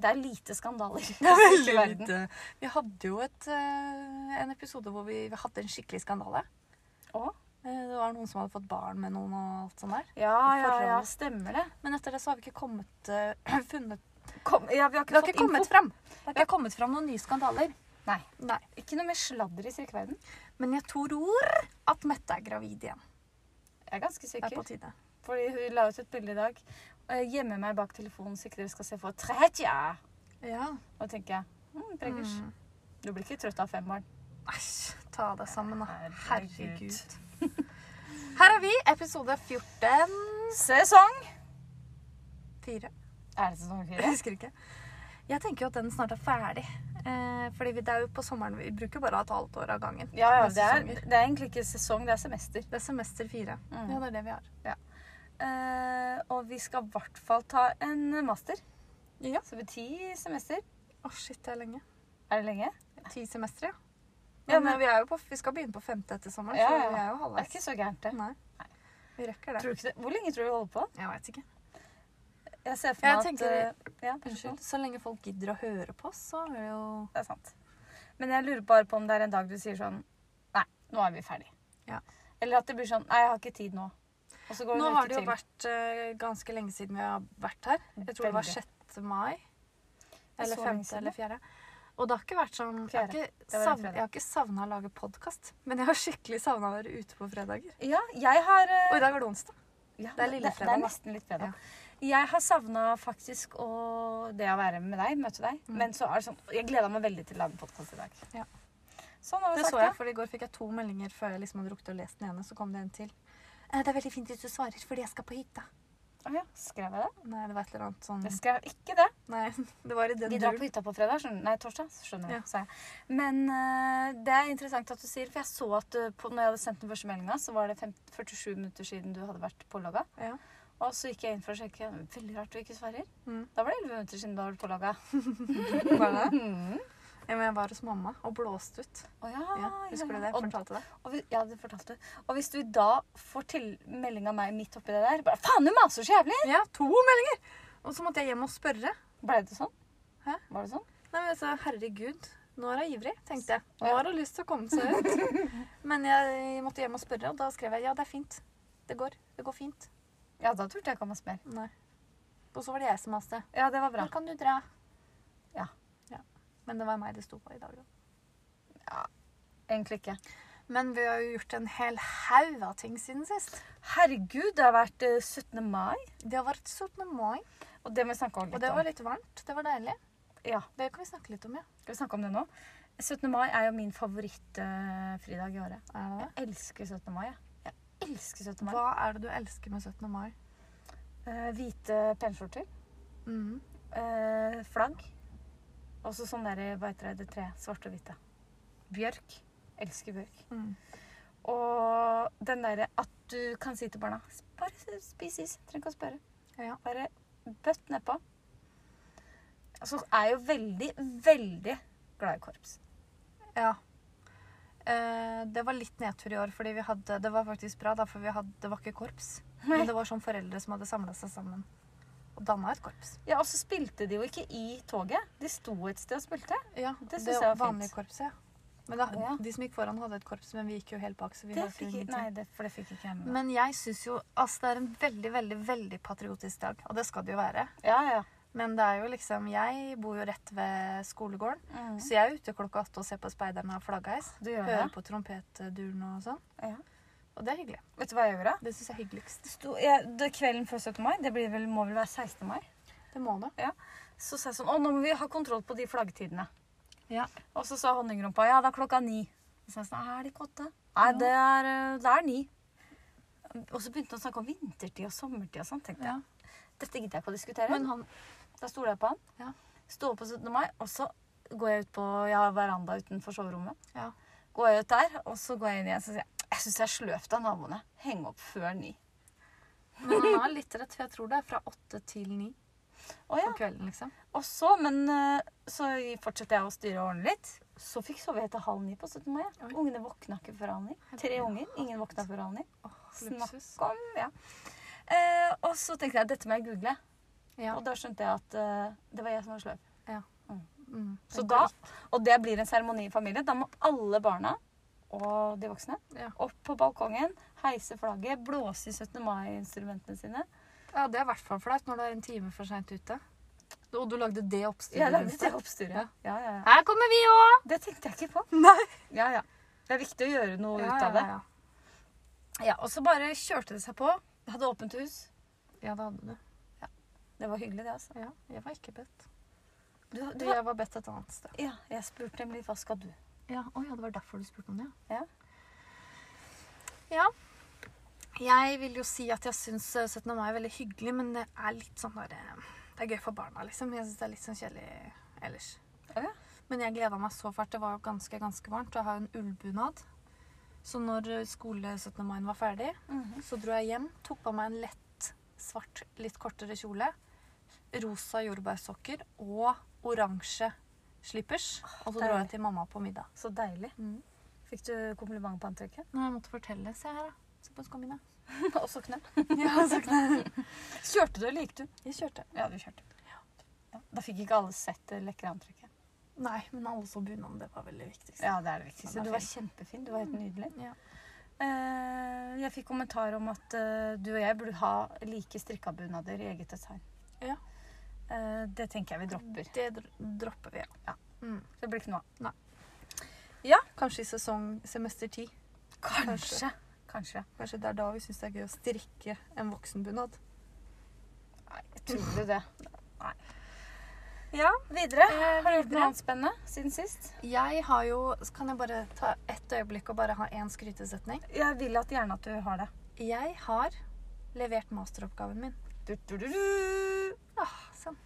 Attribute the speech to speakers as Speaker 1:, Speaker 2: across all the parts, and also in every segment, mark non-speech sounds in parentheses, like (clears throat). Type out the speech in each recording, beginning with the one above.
Speaker 1: det er lite (laughs) skandaler.
Speaker 2: Det er
Speaker 1: i
Speaker 2: veldig
Speaker 1: verden.
Speaker 2: lite. Vi hadde jo et, eh, en episode hvor vi hadde en skikkelig skandale.
Speaker 1: Å?
Speaker 2: Eh, Det var noen som hadde fått barn med noen og alt sånt der.
Speaker 1: Ja, ja, ja,
Speaker 2: Forholdet.
Speaker 1: stemmer det.
Speaker 2: Men etter det så har vi ikke kommet eh, (clears throat) funnet
Speaker 1: Kom, ja, vi
Speaker 2: Det
Speaker 1: har ikke
Speaker 2: har
Speaker 1: fått
Speaker 2: ikke kommet
Speaker 1: info.
Speaker 2: fram. Det har ikke kommet fram noen nye skandaler.
Speaker 1: Nei.
Speaker 2: Nei.
Speaker 1: Ikke noe mer sladder i strikkeverdenen.
Speaker 2: Men jeg tror at Mette er gravid igjen.
Speaker 1: Jeg er ganske
Speaker 2: Det er
Speaker 1: sikker.
Speaker 2: på tide.
Speaker 1: Fordi hun la ut et bilde i dag. Eh, Gjemme meg bak telefonen så ikke dere skal se for tredje.
Speaker 2: Ja.
Speaker 1: Og da tenker jeg mm, Preggers.
Speaker 2: Mm.
Speaker 1: Du blir ikke trøtt av fem barn.
Speaker 2: Æsj, ta deg sammen, da.
Speaker 1: Herregud.
Speaker 2: Herregud. (laughs) Her er vi, episode 14.
Speaker 1: Sesong!
Speaker 2: Fire.
Speaker 1: Er det sesong
Speaker 2: Jeg
Speaker 1: fire?
Speaker 2: husker ikke. Jeg tenker jo at den snart er ferdig. Eh, fordi vi, det er jo på sommeren Vi bruker bare et halvt år av gangen.
Speaker 1: Ja, ja,
Speaker 2: Med
Speaker 1: det er,
Speaker 2: sesonger.
Speaker 1: det er egentlig ikke sesong, det er semester.
Speaker 2: Det er semester fire.
Speaker 1: Mm.
Speaker 2: Ja, det er det vi har.
Speaker 1: Eh, og vi skal i hvert fall ta en master.
Speaker 2: Ja.
Speaker 1: Så det blir ti semester.
Speaker 2: Å, shit, det er lenge.
Speaker 1: Er det lenge?
Speaker 2: Ti semestre, ja. Men,
Speaker 1: Ja,
Speaker 2: eh,
Speaker 1: men-
Speaker 2: vi, er jo på, vi skal begynne på femte etter sommeren,
Speaker 1: Ja,
Speaker 2: så vi
Speaker 1: ja.
Speaker 2: er jo
Speaker 1: Det er
Speaker 2: halvveis.
Speaker 1: ikke så gærent, det.
Speaker 2: Nei. Vi rekker det.
Speaker 1: Tror du ikke det. Hvor lenge tror du vi holder på?
Speaker 2: Jeg veit ikke.
Speaker 1: Jeg ser for
Speaker 2: Jeg
Speaker 1: meg at
Speaker 2: tenker-
Speaker 1: eh, ja,
Speaker 2: Unnskyld. Så lenge folk gidder å høre på oss, så er det jo
Speaker 1: Det er sant. Men jeg lurer bare på om det er en dag du sier sånn Nei, nå er vi ferdig.
Speaker 2: Ja.
Speaker 1: Eller at det blir sånn Nei, jeg har ikke tid nå. Og så går det
Speaker 2: Nå
Speaker 1: en
Speaker 2: har
Speaker 1: uke
Speaker 2: det jo
Speaker 1: til.
Speaker 2: vært eh, ganske lenge siden vi har vært her. Jeg tror det var
Speaker 1: Veldig.
Speaker 2: 6. mai.
Speaker 1: er
Speaker 2: Eller
Speaker 1: så lenge
Speaker 2: 5.
Speaker 1: siden,
Speaker 2: eller 4. Og det har ikke vært sånn Jeg har
Speaker 1: Fjerde.
Speaker 2: ikke,
Speaker 1: var en
Speaker 2: savn,
Speaker 1: fredag.
Speaker 2: jeg har ikke savna å lage podkast, men jeg har skikkelig savna å være ute på fredager.
Speaker 1: Ja, jeg har eh,
Speaker 2: Og i dag er det onsdag.
Speaker 1: ja,
Speaker 2: det er lille fredag,
Speaker 1: Det er
Speaker 2: da.
Speaker 1: nesten litt fredag. Jeg har savna faktisk å, det å være med deg, møte deg.
Speaker 2: Mm.
Speaker 1: Men så er det sånn Jeg gleda meg veldig til å lage podkast i dag.
Speaker 2: Ja.
Speaker 1: Sånn har vi
Speaker 2: Det
Speaker 1: sagt
Speaker 2: så jeg,
Speaker 1: det.
Speaker 2: for i går fikk jeg to meldinger før jeg liksom hadde rukket å lese den ene. Så kom det en til. Eh, Det er veldig fint hvis du svarer, fordi jeg skal på hytta.
Speaker 1: Å ja, skrev jeg det?
Speaker 2: Nei, det var et eller annet sånn
Speaker 1: Jeg skrev ikke det.
Speaker 2: Nei, (laughs) det var i den
Speaker 1: Vi drar på hytta på fredag, skjønner Nei, torsdag, skjønner du.
Speaker 2: Ja.
Speaker 1: sa jeg. Men eh, det er interessant at du sier, for jeg så at uh, på, når jeg hadde sendt den første meldinga, så var det fem- 47 minutter siden du hadde vært pålogga.
Speaker 2: Ja.
Speaker 1: Og så gikk jeg inn for å sjekke. Veldig rart du ikke svarer.
Speaker 2: Mm.
Speaker 1: Da var det 11 minutter siden du hadde vært pålogga.
Speaker 2: Var det?
Speaker 1: (laughs) Mm.
Speaker 2: Ja, men jeg var hos mamma og blåste ut.
Speaker 1: Å ja,
Speaker 2: Ah, Ja, husker du det?
Speaker 1: ja, ja.
Speaker 2: Jeg fortalte det.
Speaker 1: Og, og, vi- ja, det fortalte du. Og hvis du da får til melding av meg midt oppi det der bare, Faen, du maser så jævlig!
Speaker 2: Ja, to meldinger! Og så måtte jeg hjem og spørre.
Speaker 1: Ble det sånn?
Speaker 2: Hæ?
Speaker 1: Var det sånn?
Speaker 2: Nei, men altså, Herregud, nå er hun ivrig, tenkte jeg. Nå
Speaker 1: Ja.
Speaker 2: har hun lyst til å komme seg ut. (laughs) Men jeg måtte hjem og spørre, og da skrev jeg ja, det er fint. Det går. Det går fint.
Speaker 1: Ja, da turte jeg ikke å mase mer.
Speaker 2: Nei. Og så var det jeg som maste.
Speaker 1: Ja, det var bra.
Speaker 2: Når kan du dra?
Speaker 1: Ja.
Speaker 2: ja. Men det var meg det sto på i dag, da.
Speaker 1: Egentlig ikke.
Speaker 2: Men vi har jo gjort en hel haug av ting siden sist.
Speaker 1: Herregud, det har vært eh, 17. mai.
Speaker 2: Det har vært 17. mai,
Speaker 1: Og det må vi snakke om litt
Speaker 2: og det
Speaker 1: om.
Speaker 2: var litt varmt. Det var deilig.
Speaker 1: Ja,
Speaker 2: Det kan vi snakke litt om, ja.
Speaker 1: skal vi snakke om det nå? 17. mai er jo min favorittfridag i året.
Speaker 2: Er det det?
Speaker 1: Jeg elsker 17. mai. jeg. Jeg elsker 17. mai.
Speaker 2: Hva er det du elsker med 17. mai?
Speaker 1: Eh, hvite penskjorter,
Speaker 2: Mm.
Speaker 1: eh, flagg, og så sånn der, hva heter det, det treet, svarte og hvite. Bjørk. Elsker bjørk.
Speaker 2: Mm.
Speaker 1: Og den derre at du kan si til barna Bare spis is. Trenger ikke å spørre.
Speaker 2: Ja.
Speaker 1: Bare bøtt nedpå. Så er jeg jo veldig, veldig glad i korps.
Speaker 2: Ja. Eh, det var litt nedtur i år, fordi vi hadde Det var faktisk bra, da, for vi hadde, det var ikke korps.
Speaker 1: Nei.
Speaker 2: Men det var sånn foreldre som hadde samla seg sammen og danna et korps.
Speaker 1: Ja, Og så spilte de jo ikke i toget. De sto et sted og spilte.
Speaker 2: Ja,
Speaker 1: det synes jeg var
Speaker 2: vanlige
Speaker 1: fint.
Speaker 2: korpset, ja. Men da,
Speaker 1: Å, ja.
Speaker 2: De som gikk foran, hadde et korps, men vi gikk jo helt bak. så vi
Speaker 1: Det
Speaker 2: hørte jo
Speaker 1: fikk, jeg-
Speaker 2: ingenting.
Speaker 1: nei, det, for det fikk ikke jeg med meg.
Speaker 2: Men jeg syns jo Altså, det er en veldig, veldig veldig patriotisk dag, og det skal det jo være.
Speaker 1: Ja, ja.
Speaker 2: Men det er jo liksom Jeg bor jo rett ved skolegården,
Speaker 1: Mm.
Speaker 2: så jeg er ute klokka åtte og ser på Speiderne og Flaggeis.
Speaker 1: Du gjør
Speaker 2: Hører
Speaker 1: det?
Speaker 2: på trompetduren og sånn.
Speaker 1: Ja.
Speaker 2: Og det er hyggelig.
Speaker 1: Vet du hva jeg gjorde?
Speaker 2: Det syns jeg er hyggeligst.
Speaker 1: Det sto, jeg, det kvelden før 17. mai, det blir vel, må vel være 16. mai,
Speaker 2: Det må det.
Speaker 1: så sa jeg sånn Å, nå må vi ha kontroll på de flaggtidene.
Speaker 2: Ja.
Speaker 1: Og så sa honningrumpa ja, det er klokka ni. Og så sa jeg sånn, er det ikke åtte? Nei, det er, eh, det er ni. Og så begynte han å snakke om vintertid og sommertid og sånn. tenkte jeg.
Speaker 2: Ja.
Speaker 1: Dette gidder jeg ikke å diskutere.
Speaker 2: Men han
Speaker 1: da stoler jeg på han.
Speaker 2: Ja.
Speaker 1: Sto opp på 17. mai, og så går jeg ut på Jeg har veranda utenfor soverommet.
Speaker 2: Ja.
Speaker 1: Går jeg ut der, og så går jeg inn igjen og sier jeg, jeg syns jeg er sløvt av naboene. Henge opp før ni.
Speaker 2: Men han har litt rett, for jeg tror det er fra åtte til ni
Speaker 1: Å ja.
Speaker 2: på kvelden, liksom.
Speaker 1: Og så, men eh, så fortsetter jeg å styre og ordne litt. Så fikk sove etter halv ni på 17. mai. ja.
Speaker 2: Oi.
Speaker 1: Ungene våkna ikke før halv ni. Tre unger. Ingen våkna før halv ni.
Speaker 2: Åh,
Speaker 1: Snakk
Speaker 2: luksus.
Speaker 1: om, ja. Eh, og så tenkte jeg dette må jeg google.
Speaker 2: Ja.
Speaker 1: Og da skjønte jeg at eh, det var jeg som var sløv.
Speaker 2: Mm.
Speaker 1: Så da, og det blir en seremoni i familien. Da må alle barna og de voksne
Speaker 2: Ja.
Speaker 1: opp på balkongen, heise flagget, blåse i 17. mai-instrumentene sine.
Speaker 2: Ja, det er i hvert fall flaut når du er en time for seint ute. Og du lagde det
Speaker 1: Jeg
Speaker 2: oppstyret
Speaker 1: lagde
Speaker 2: rundt
Speaker 1: det
Speaker 2: deg.
Speaker 1: oppstyret. Ja, ja, ja.
Speaker 2: Her kommer vi òg!
Speaker 1: Det tenkte jeg ikke på.
Speaker 2: Nei.
Speaker 1: Ja, ja. Det er viktig å gjøre noe
Speaker 2: Ja,
Speaker 1: ut av
Speaker 2: ja,
Speaker 1: det.
Speaker 2: ja.
Speaker 1: Ja, Og så bare kjørte det seg på. Hadde åpent hus.
Speaker 2: ja, det hadde du.
Speaker 1: Det var hyggelig, det. altså.
Speaker 2: Ja, jeg var ikke bedt.
Speaker 1: Du,
Speaker 2: Du,
Speaker 1: du,
Speaker 2: jeg var bedt et annet sted.
Speaker 1: ja, jeg spurte nemlig hva skal du?
Speaker 2: Ja, oh, ja, det var derfor du spurte om det.
Speaker 1: Ja.
Speaker 2: Ja. Jeg vil jo si at jeg syns 17. mai er veldig hyggelig, men det er litt sånn der eh, Det er gøy for barna, liksom. Jeg syns det er litt sånn kjedelig ellers.
Speaker 1: Å ja.
Speaker 2: Men jeg gleda meg så fælt. Det var jo ganske, ganske varmt. Og jeg har jo en ullbunad. Så når eh, skole 17. mai var ferdig,
Speaker 1: Mhm.
Speaker 2: så dro jeg hjem, tok på meg en lett svart, litt kortere kjole, rosa jordbærsokker og oransje slippers. Og så dro jeg
Speaker 1: deilig.
Speaker 2: til mamma på middag.
Speaker 1: Så deilig.
Speaker 2: Mm.
Speaker 1: Fikk du kompliment på (laughs) antrekket?
Speaker 2: Nei, jeg måtte fortelle. Se her, da. Se på skoene (laughs) mine.
Speaker 1: og sokkene?
Speaker 2: Ja, så knær.
Speaker 1: Kjørte du, eller gikk du?
Speaker 2: Jeg kjørte.
Speaker 1: Ja, du kjørte. Ja. Da fikk ikke alle sett det lekre antrekket.
Speaker 2: Nei, men alle så bunaden. Det var veldig viktig.
Speaker 1: Ja, det er Mm. det viktigste.
Speaker 2: Den er
Speaker 1: Du var
Speaker 2: fin.
Speaker 1: kjempefin. Du var helt nydelig.
Speaker 2: Ja.
Speaker 1: Eh, jeg fikk kommentar om at eh, du og jeg burde ha like strikka bunader i eget design.
Speaker 2: Ja.
Speaker 1: Eh, det tenker jeg vi dropper.
Speaker 2: Det dr- dropper vi,
Speaker 1: Ja.
Speaker 2: Mm.
Speaker 1: Det blir ikke noe av.
Speaker 2: Kanskje i sesong semester ti.
Speaker 1: Kanskje. Kanskje.
Speaker 2: Kanskje det er da vi syns det er gøy å strikke en voksenbunad.
Speaker 1: Nei, jeg tror du det. Nei.
Speaker 2: Ja.
Speaker 1: Videre.
Speaker 2: Eh,
Speaker 1: Har du gjort
Speaker 2: videre.
Speaker 1: noe annet spennende siden sist?
Speaker 2: Jeg har jo Kan jeg bare ta ett øyeblikk og bare ha én skrytesetning?
Speaker 1: Jeg vil at gjerne at du har det.
Speaker 2: Jeg har levert masteroppgaven min.
Speaker 1: Du, du, du, du.
Speaker 2: Ah, sånn.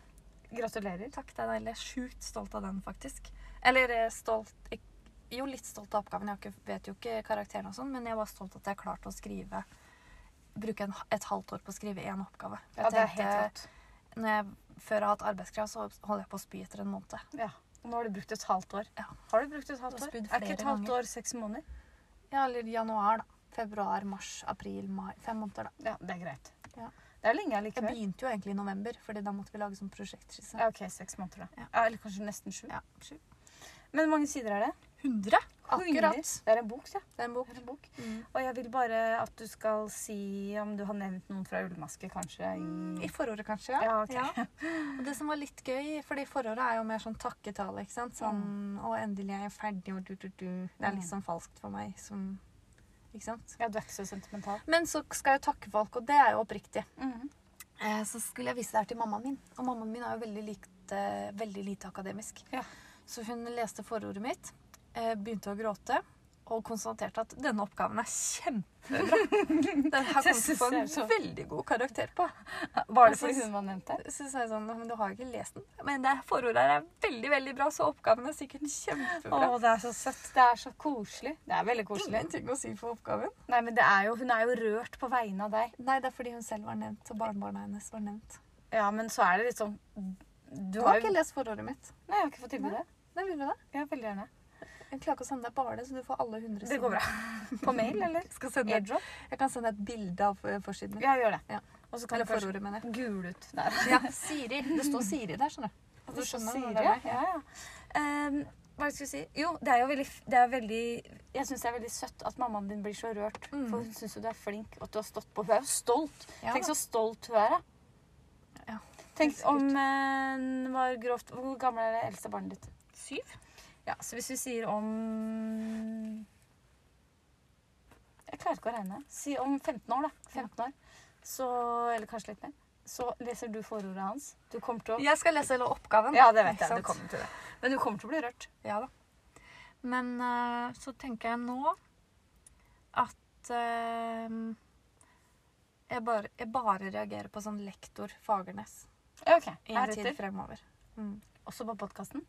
Speaker 1: Gratulerer.
Speaker 2: Takk, det er deilig. Jeg er Sjukt stolt av den, faktisk. Eller eh, stolt ik- Jo, litt stolt av oppgaven. Jeg har ikke, vet jo ikke karakteren og sånn, men jeg var stolt at jeg klarte å skrive Bruke en, et halvt år på å skrive én oppgave. Jeg
Speaker 1: Ja, det er
Speaker 2: tenkte,
Speaker 1: helt rått.
Speaker 2: Når jeg før jeg har hatt arbeidskrav, så holder jeg på å spy etter en måned.
Speaker 1: Ja. Og nå har du brukt et halvt år.
Speaker 2: Ja.
Speaker 1: Har du brukt et
Speaker 2: Du har
Speaker 1: halvt år? Er
Speaker 2: spydd
Speaker 1: ikke et
Speaker 2: flere
Speaker 1: halvt
Speaker 2: ganger.
Speaker 1: år seks måneder?
Speaker 2: Ja, eller januar, da. Februar, mars, april, mai. Fem måneder, da.
Speaker 1: Ja, det er greit.
Speaker 2: Ja.
Speaker 1: Det er lenge
Speaker 2: Jeg
Speaker 1: allikevel.
Speaker 2: begynte jo egentlig i november, fordi da måtte vi lage sånn prosjektskisse.
Speaker 1: Ja, ok, seks måneder da.
Speaker 2: Ja.
Speaker 1: Ja. eller kanskje nesten sju.
Speaker 2: Ja, sju.
Speaker 1: Men hvor mange sider er det?
Speaker 2: 100? Akkurat.
Speaker 1: Hundre. Det er en bok, ja.
Speaker 2: Det er en bok.
Speaker 1: Det er en bok.
Speaker 2: Mm.
Speaker 1: Og jeg vil bare at du skal si om du har nevnt noen fra Ullmaske, kanskje,
Speaker 2: I
Speaker 1: i...
Speaker 2: forordet, kanskje. Ja.
Speaker 1: Mm. Ja, ok.
Speaker 2: (laughs) Og det som var litt gøy, fordi forordet er jo mer sånn takketale, ikke sant? Sånn, og endelig er jeg ferdig, og du, du, du. Det er
Speaker 1: Mm.
Speaker 2: litt sånn falskt for meg, som, ikke sant?
Speaker 1: Ja, du er ikke så sentimental.
Speaker 2: Men så skal jeg takke folk, og det er jo oppriktig.
Speaker 1: Mhm.
Speaker 2: Eh, så skulle jeg vise det her til mammaen min, og mammaen min er jo veldig, likt, eh, veldig lite akademisk.
Speaker 1: Ja.
Speaker 2: Så hun leste forordet mitt, eh, begynte å gråte, og konstaterte at denne oppgaven er (laughs) kjempebra. Den her kommer til å få
Speaker 1: Det
Speaker 2: en
Speaker 1: synes jeg så.
Speaker 2: veldig god karakter på.
Speaker 1: Var
Speaker 2: Jeg
Speaker 1: det fordi
Speaker 2: synes-
Speaker 1: hun var nevnt der?
Speaker 2: Så sa jeg sånn, men du har jo ikke lest den. Men det forordet her er veldig, veldig bra, så oppgaven er sikkert
Speaker 1: Å,
Speaker 2: kjempebra.
Speaker 1: det er så søtt. Det er så koselig. Det er veldig koselig.
Speaker 2: Ingenting å si for oppgaven.
Speaker 1: Nei, men det er jo, hun er jo rørt på vegne av deg.
Speaker 2: Nei, det er fordi hun selv var nevnt, og barnebarna hennes var nevnt.
Speaker 1: Ja, men så er det litt sånn...
Speaker 2: Du
Speaker 1: Du har
Speaker 2: har
Speaker 1: jo...
Speaker 2: ikke lest forordet mitt.
Speaker 1: Nei, jeg har ikke fått tilbudet.
Speaker 2: Nei, vil du det?
Speaker 1: Ja, veldig gjerne.
Speaker 2: Jeg klarer ikke å sende deg bare det, så du får alle hundre
Speaker 1: Det (laughs) går bra. På mail, eller?
Speaker 2: Skal sende deg
Speaker 1: Airdrop?
Speaker 2: Jeg kan sende et bilde av eh, forsiden.
Speaker 1: Ja, gjør det.
Speaker 2: Ja.
Speaker 1: Og så kan
Speaker 2: Eller
Speaker 1: du kanskje
Speaker 2: forordet, mener jeg.
Speaker 1: gule ut. Nei.
Speaker 2: Ja, Siri. Det står Siri der, skjønner du.
Speaker 1: At
Speaker 2: Du
Speaker 1: du
Speaker 2: skjønner
Speaker 1: sier
Speaker 2: når
Speaker 1: det.
Speaker 2: det er meg.
Speaker 1: Ja, ja. Ehm, hva skal jeg si? Jo, det er jo veldig, det er veldig Jeg syns det er veldig søtt at mammaen din blir så rørt.
Speaker 2: Mm.
Speaker 1: For hun syns jo du er flink, og at du har stått på. Hun er jo stolt.
Speaker 2: Ja,
Speaker 1: Tenk
Speaker 2: da.
Speaker 1: så stolt hun er, da.
Speaker 2: Ja, helt
Speaker 1: Tenk
Speaker 2: sikkert.
Speaker 1: om eh, hun var grovt Hvor gammel er det eldste barnet ditt?
Speaker 2: Syv?
Speaker 1: Ja, så hvis vi sier om Jeg klarer ikke å regne. Si om 15 år, da. 15 år. Så, eller kanskje litt mer. Så leser du forordet hans. Du kommer til å
Speaker 2: Jeg skal lese hele oppgaven.
Speaker 1: Ja, det vet
Speaker 2: Ikke
Speaker 1: jeg.
Speaker 2: sant?
Speaker 1: Du kommer til det. Men du kommer til å bli rørt.
Speaker 2: Ja da. Men eh, så tenker jeg nå at eh, jeg, bare, jeg bare reagerer på sånn lektor Fagernes
Speaker 1: Ja, ok.
Speaker 2: i en tid
Speaker 1: Heretter.
Speaker 2: fremover. Mm.
Speaker 1: Også på podkasten.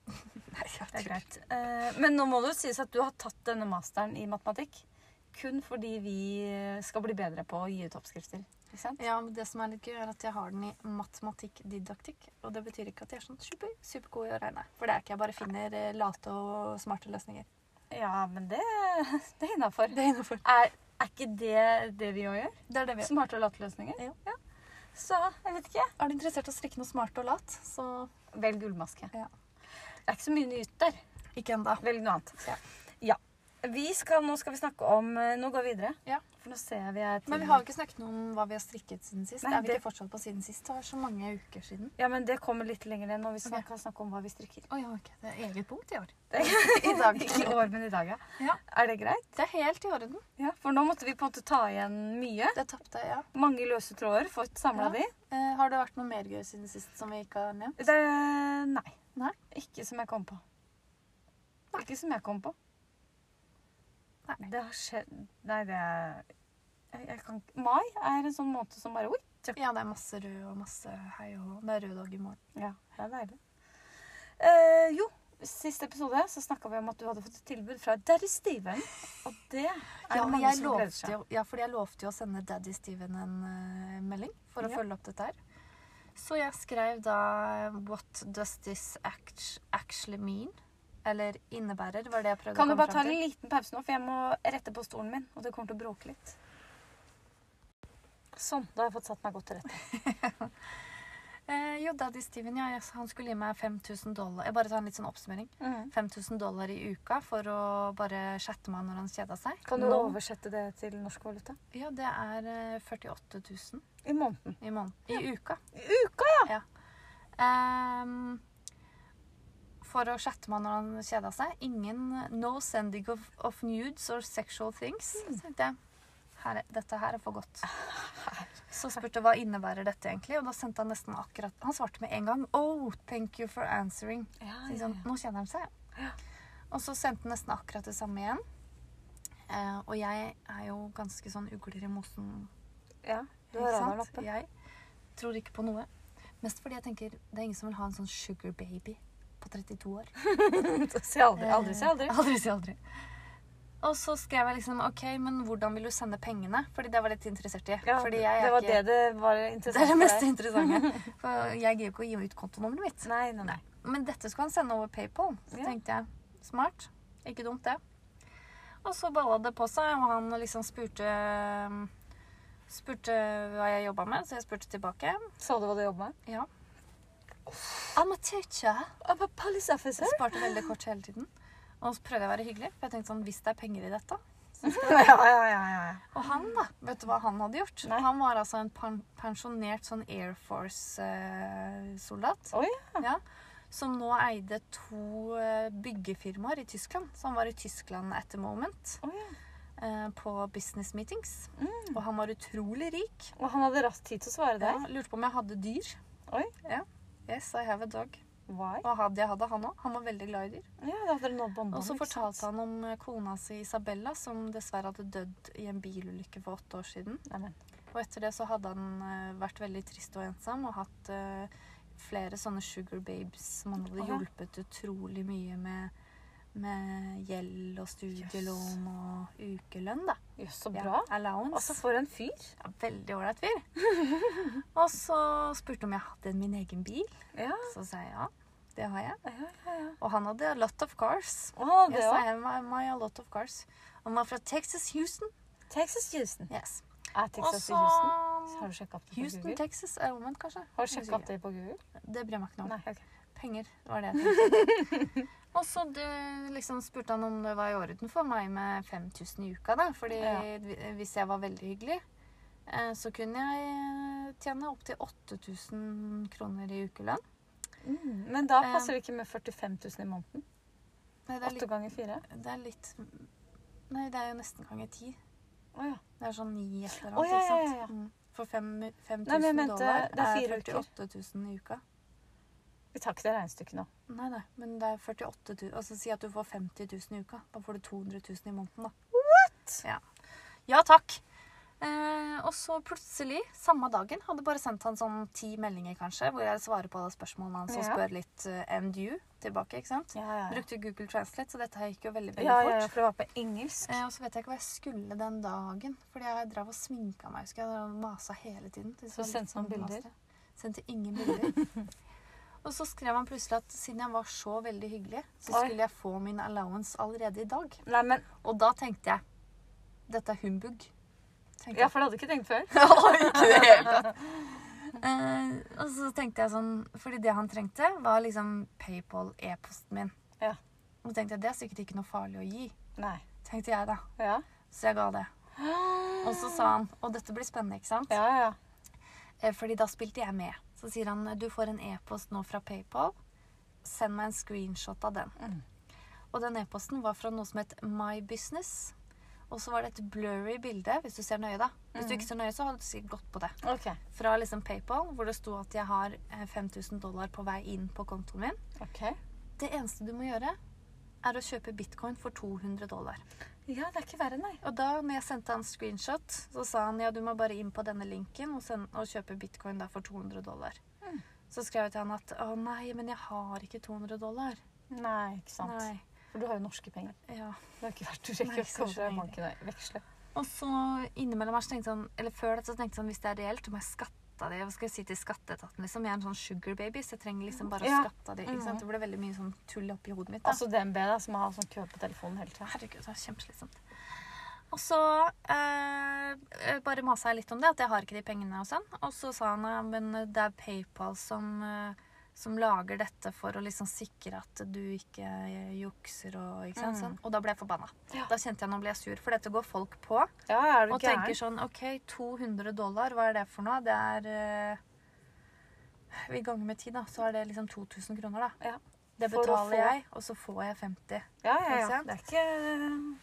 Speaker 2: Nei, jeg
Speaker 1: Det er
Speaker 2: tror-
Speaker 1: greit. Eh, men nå må det jo sies at du har tatt denne masteren i matematikk kun fordi vi skal bli bedre på å gi ut oppskrifter. Ikke sant?
Speaker 2: Ja, men det som er litt gøy, er at jeg har den i matematikkdidaktikk. Og det betyr ikke at jeg er sånn super, supergod i å regne. For det er ikke jeg bare finner eh, late og smarte løsninger.
Speaker 1: Ja, men det, det er innafor.
Speaker 2: Det er innenfor.
Speaker 1: Er, er ikke det det vi òg gjør?
Speaker 2: Det er det vi gjør.
Speaker 1: Smarte og late løsninger?
Speaker 2: Ja.
Speaker 1: Så jeg vet ikke.
Speaker 2: Er du interessert i å strikke noe smart og lat, så
Speaker 1: Velg gullmaske.
Speaker 2: Ja.
Speaker 1: Det er ikke så mye nytt der.
Speaker 2: ikke enda.
Speaker 1: Velg noe annet.
Speaker 2: Ja.
Speaker 1: Ja. Vi skal, nå skal vi snakke om eh, Nå går vi videre.
Speaker 2: Ja.
Speaker 1: For nå ser jeg vi er til-
Speaker 2: Men vi har jo ikke snakket noe om hva vi har strikket siden sist.
Speaker 1: Nei,
Speaker 2: er vi
Speaker 1: det-
Speaker 2: ikke fortsatt på siden sist? Det var så mange uker siden.
Speaker 1: Ja, men det kommer litt lenger enn når vi snakker, snakker om hva vi
Speaker 2: (laughs)
Speaker 1: strikker.
Speaker 2: Å ja, ok. Det er eget punkt (laughs) i år.
Speaker 1: I dag. Ikke i år, men i dag, ja.
Speaker 2: Ja.
Speaker 1: Er det greit?
Speaker 2: Det er helt i orden.
Speaker 1: Ja. For nå måtte vi på en måte ta igjen mye.
Speaker 2: Det tapte, ja.
Speaker 1: Mange løse tråder. Fått samla
Speaker 2: Ja.
Speaker 1: de.
Speaker 2: Eh, har det vært noe mer gøy siden sist som vi ikke har nevnt?
Speaker 1: Det, nei.
Speaker 2: Nei.
Speaker 1: Ikke som jeg kom på. Ikke som jeg kom på.
Speaker 2: Nei.
Speaker 1: Det har skjedd Nei, det er jeg, jeg kan, ikke- Mai er en sånn måned som bare Oi! tjøkk.
Speaker 2: Ja, det er masse rød og masse hei og hå. Det er rød dag i morgen.
Speaker 1: Ja, det er deilig. Eh, jo, siste episode så snakka vi om at du hadde fått et tilbud fra Daddy Steven. Og det er
Speaker 2: Ja,
Speaker 1: det
Speaker 2: men
Speaker 1: mange
Speaker 2: jeg
Speaker 1: som gleder
Speaker 2: lovte
Speaker 1: seg.
Speaker 2: jo, ja, fordi jeg lovte jo å sende Daddy Steven en eh, melding for å
Speaker 1: Ja.
Speaker 2: følge opp dette her. Så jeg skrev da What does this act actually mean? Eller innebærer, var det jeg prøvde
Speaker 1: Kan
Speaker 2: å
Speaker 1: du
Speaker 2: komme
Speaker 1: bare ta
Speaker 2: frem
Speaker 1: en
Speaker 2: til.
Speaker 1: liten pause nå, for jeg må rette på stolen min, og det kommer til å bråke litt. Sånn. Da har jeg fått satt meg godt til rette.
Speaker 2: Eh, jo, Daddy Steven, ja, jeg, han skulle gi meg 5000 dollar. Jeg bare tar en litt sånn oppsummering.
Speaker 1: Mm.
Speaker 2: 5000 dollar i uka for å bare chatte med han når han kjeda seg.
Speaker 1: Kan du
Speaker 2: Nå-
Speaker 1: oversette det til norsk valuta?
Speaker 2: Ja, det er eh, 48 000
Speaker 1: I måneden.
Speaker 2: i, måneden, i uka.
Speaker 1: I uka, ja!
Speaker 2: Ehm, for å chatte med han når han kjeda seg. Ingen No sending of, of nudes or sexual things.
Speaker 1: Mm.
Speaker 2: Så tenkte jeg her, er- dette her er for
Speaker 1: (laughs)
Speaker 2: godt. Så spurte jeg hva innebærer dette egentlig, og da sendte han nesten akkurat Han svarte med en gang. Oh, thank you for answering.
Speaker 1: Ah, ja,
Speaker 2: Så liksom, nå kjenner han seg.
Speaker 1: Ja.
Speaker 2: Og så sendte han nesten akkurat det samme igjen. Eh, og jeg er jo ganske sånn ugler i mosen.
Speaker 1: Ja, du
Speaker 2: ikke
Speaker 1: har
Speaker 2: sant?
Speaker 1: radaren oppe. (laughs)
Speaker 2: Jeg tror ikke på noe. Mest fordi jeg tenker det er ingen som vil ha en sånn sugar baby på 32 år.
Speaker 1: Si aldri, aldri si aldri.
Speaker 2: Eh, (laughs) Aldri si aldri. Og så skrev jeg liksom OK, men hvordan vil du sende pengene? Fordi det var jeg litt interessert i.
Speaker 1: Ja,
Speaker 2: fordi jeg er
Speaker 1: det var
Speaker 2: ikke,
Speaker 1: det det
Speaker 2: (laughs)
Speaker 1: var
Speaker 2: det,
Speaker 1: interessant
Speaker 2: er det
Speaker 1: for
Speaker 2: mest
Speaker 1: deg.
Speaker 2: interessante.
Speaker 1: (laughs)
Speaker 2: For jeg gidder jo ikke å gi ut kontonummeret mitt.
Speaker 1: Nei, nei, nei.
Speaker 2: Men dette skulle han sende over PayPal. Så
Speaker 1: Ja.
Speaker 2: tenkte jeg smart. Ikke dumt, det. Og så balla det på seg, og han liksom spurte Spurte hva jeg jobba med, så jeg spurte tilbake.
Speaker 1: Så du hva du jobber med?
Speaker 2: Ja. I'm a teacher.
Speaker 1: I'm a police officer.
Speaker 2: Jeg sparte veldig kort hele tiden. Og så prøvde jeg å være hyggelig, for jeg tenkte sånn, hvis det er penger i dette
Speaker 1: (laughs) ja, ja, ja, ja, ja.
Speaker 2: Og han, da. Vet du hva han hadde gjort?
Speaker 1: Nei.
Speaker 2: Han var altså en pen- pensjonert sånn Air Force-soldat.
Speaker 1: Oi,
Speaker 2: ja. Som nå eide to eh, byggefirmaer i Tyskland. Så han var i Tyskland at the moment.
Speaker 1: Å, ja.
Speaker 2: eh, På business meetings.
Speaker 1: Mm.
Speaker 2: Og han var utrolig rik.
Speaker 1: Og han hadde raskt tid til å svare
Speaker 2: Ja,
Speaker 1: deg.
Speaker 2: lurte på om jeg hadde dyr.
Speaker 1: Oi.
Speaker 2: Ja. Yes, I have a dog.
Speaker 1: Why?
Speaker 2: Og hadde jeg hadde han òg. Han var veldig glad i dyr.
Speaker 1: Ja, da hadde dere nådd båndene.
Speaker 2: Og så
Speaker 1: ikke sant?
Speaker 2: fortalte han om eh, kona si Isabella, som dessverre hadde dødd i en bilulykke for åtte år siden.
Speaker 1: Neimen.
Speaker 2: Og etter det så hadde han eh, vært veldig trist og ensom og hatt eh, flere sånne sugar babes som han hadde
Speaker 1: Å, ja.
Speaker 2: hjulpet utrolig mye med, med gjeld og studielån og ukelønn, da.
Speaker 1: Jøss, så
Speaker 2: Ja,
Speaker 1: bra.
Speaker 2: allowance.
Speaker 1: Altså, for en fyr.
Speaker 2: ja, veldig ålreit fyr.
Speaker 1: (laughs)
Speaker 2: og så spurte han om jeg hadde min egen bil.
Speaker 1: Ja,
Speaker 2: Så sa jeg ja, det har jeg.
Speaker 1: ja, ja. ja.
Speaker 2: Og han hadde a lot of cars.
Speaker 1: Å, det
Speaker 2: Yes, I
Speaker 1: òg.
Speaker 2: have my, my a lot of cars. Han var fra Texas, Houston.
Speaker 1: Texas Houston.
Speaker 2: Yes.
Speaker 1: Er
Speaker 2: Og
Speaker 1: Texas i
Speaker 2: så
Speaker 1: Houston? Ah, Har du sjekka opp det på
Speaker 2: Houston,
Speaker 1: Google?
Speaker 2: Texas er omvendt, kanskje.
Speaker 1: Har du sjekka
Speaker 2: Jeg
Speaker 1: opp det på Google?
Speaker 2: husker ikke. Det bryr jeg meg ikke noe om.
Speaker 1: Nei. ok.
Speaker 2: Penger var det jeg tenkte.
Speaker 1: (laughs)
Speaker 2: Og så det- liksom, spurte han om det var i orden for meg med 5000 i uka. da. Fordi
Speaker 1: Ja.
Speaker 2: vi- hvis jeg var veldig hyggelig, eh, så kunne jeg eh, tjene opptil 8000 kroner i ukelønn.
Speaker 1: Mm. Men da
Speaker 2: Eh.
Speaker 1: passer det ikke med 45 000 i måneden.
Speaker 2: Nei, det er
Speaker 1: Åtte
Speaker 2: litt,
Speaker 1: ganger fire.
Speaker 2: det er litt Nei, det er jo nesten ganger ti.
Speaker 1: Å ja.
Speaker 2: Det er sånn ni et eller annet,
Speaker 1: Å, ja,
Speaker 2: ikke sant?
Speaker 1: ja, ja, ja.
Speaker 2: Mm. For fem-
Speaker 1: Nei, men jeg
Speaker 2: 5000
Speaker 1: mente,
Speaker 2: dollar
Speaker 1: det er fire
Speaker 2: er
Speaker 1: uker.
Speaker 2: 48 000 i uka.
Speaker 1: Vi tar ikke det regnestykket nå.
Speaker 2: Nei, nei, men det er 48 000. Altså, si at du får 50 000 i uka. Da får du 200 000 i måneden, da. What?! Ja, ja takk! Eh, og så plutselig, samme dagen, hadde bare sendt han sånn ti meldinger kanskje, hvor jeg svarer på alle spørsmålene hans og
Speaker 1: Ja.
Speaker 2: spør litt eh, 'and you' tilbake. ikke sant?
Speaker 1: Ja, ja, ja.
Speaker 2: Brukte Google Translate, så dette her gikk jo veldig veldig
Speaker 1: ja, ja,
Speaker 2: fort.
Speaker 1: ja, for det var på engelsk.
Speaker 2: Eh, og så vet jeg ikke hva jeg skulle den dagen. Fordi jeg drev og sminka meg. husker jeg, og masa hele tiden. Det
Speaker 1: Så
Speaker 2: var litt
Speaker 1: sendte han
Speaker 2: sånn mas,
Speaker 1: bilder?
Speaker 2: det. Sendte ingen bilder.
Speaker 1: (laughs)
Speaker 2: og så skrev han plutselig at siden jeg var så veldig hyggelig, så
Speaker 1: Oi.
Speaker 2: skulle jeg få min allowance allerede i dag.
Speaker 1: Nei, men
Speaker 2: Og da tenkte jeg Dette er humbug. tenkte
Speaker 1: Ja, for det hadde jeg ikke tenkt (laughs) før.
Speaker 2: jeg. (laughs) Og ikke i det hele tatt. Eh, og så tenkte jeg sånn Fordi det han trengte, var liksom PayPal-e-posten min.
Speaker 1: Ja.
Speaker 2: Og så tenkte jeg, det er sikkert ikke noe farlig å gi.
Speaker 1: Nei.
Speaker 2: Tenkte jeg, da.
Speaker 1: Ja.
Speaker 2: Så jeg ga det. Og så sa han Og dette blir spennende, ikke sant?
Speaker 1: Ja, ja.
Speaker 2: Eh, Fordi da spilte jeg med. Så sier han du får en e-post nå fra PayPal. Send meg en screenshot av den.
Speaker 1: Mm.
Speaker 2: Og den e-posten var fra noe som het My Business. Og så var det et blurry bilde, hvis du ser nøye, da. Hvis
Speaker 1: Mm.
Speaker 2: du ikke ser nøye, så hadde du sikkert gått på det.
Speaker 1: OK.
Speaker 2: Fra liksom PayPal, hvor det sto at jeg har eh, 5000 dollar på vei inn på kontoen min.
Speaker 1: ok.
Speaker 2: Det eneste du må gjøre, er å kjøpe bitcoin for 200 dollar.
Speaker 1: Ja, det er ikke verre, nei.
Speaker 2: Og da når jeg sendte han screenshot, så sa han ja, du må bare inn på denne linken og, send, og kjøpe bitcoin da for 200 dollar. Så skrev jeg til han at å nei, men jeg har ikke 200 dollar.
Speaker 1: Nei, ikke sant.
Speaker 2: Nei,
Speaker 1: For du har jo norske penger.
Speaker 2: ja.
Speaker 1: Det har ikke vært å
Speaker 2: Nei,
Speaker 1: sjekke
Speaker 2: ikke så
Speaker 1: kanskje
Speaker 2: mye.
Speaker 1: banken og veksle.
Speaker 2: Og så innimellom her så tenkte han, eller før dette så tenkte han hvis det er reelt, så må jeg skatte av det. Hva skal jeg si til skatteetaten? Liksom? Jeg er en sånn sugar baby, så jeg trenger liksom bare å
Speaker 1: Ja.
Speaker 2: skatte av det. Ikke sant? Det ble veldig mye sånn tull oppi hodet mitt. Da.
Speaker 1: Altså DNB, da, som har sånn kø på telefonen hele tida.
Speaker 2: Herregud, det er kjempeslitsomt. Og så eh, bare masa jeg litt om det, at jeg har ikke de pengene og sånn. Og så sa han ja, men det er PayPal som, eh, som lager dette for å liksom sikre at du ikke eh, jukser og ikke sant, sånn. Og da ble jeg forbanna.
Speaker 1: Mm. Ja.
Speaker 2: Da kjente jeg nå ble jeg sur, for dette går folk på
Speaker 1: Ja, er du
Speaker 2: og
Speaker 1: gæren?
Speaker 2: tenker sånn OK, 200 dollar, hva er det for noe? Det er eh, Vi ganger med ti, da, så er det liksom 2000 kroner, da.
Speaker 1: Ja.
Speaker 2: Det
Speaker 1: For å
Speaker 2: betaler
Speaker 1: få-
Speaker 2: jeg, og så får jeg 50.
Speaker 1: Ja, ja,
Speaker 2: Ikke
Speaker 1: ja.
Speaker 2: sant?
Speaker 1: Det er ikke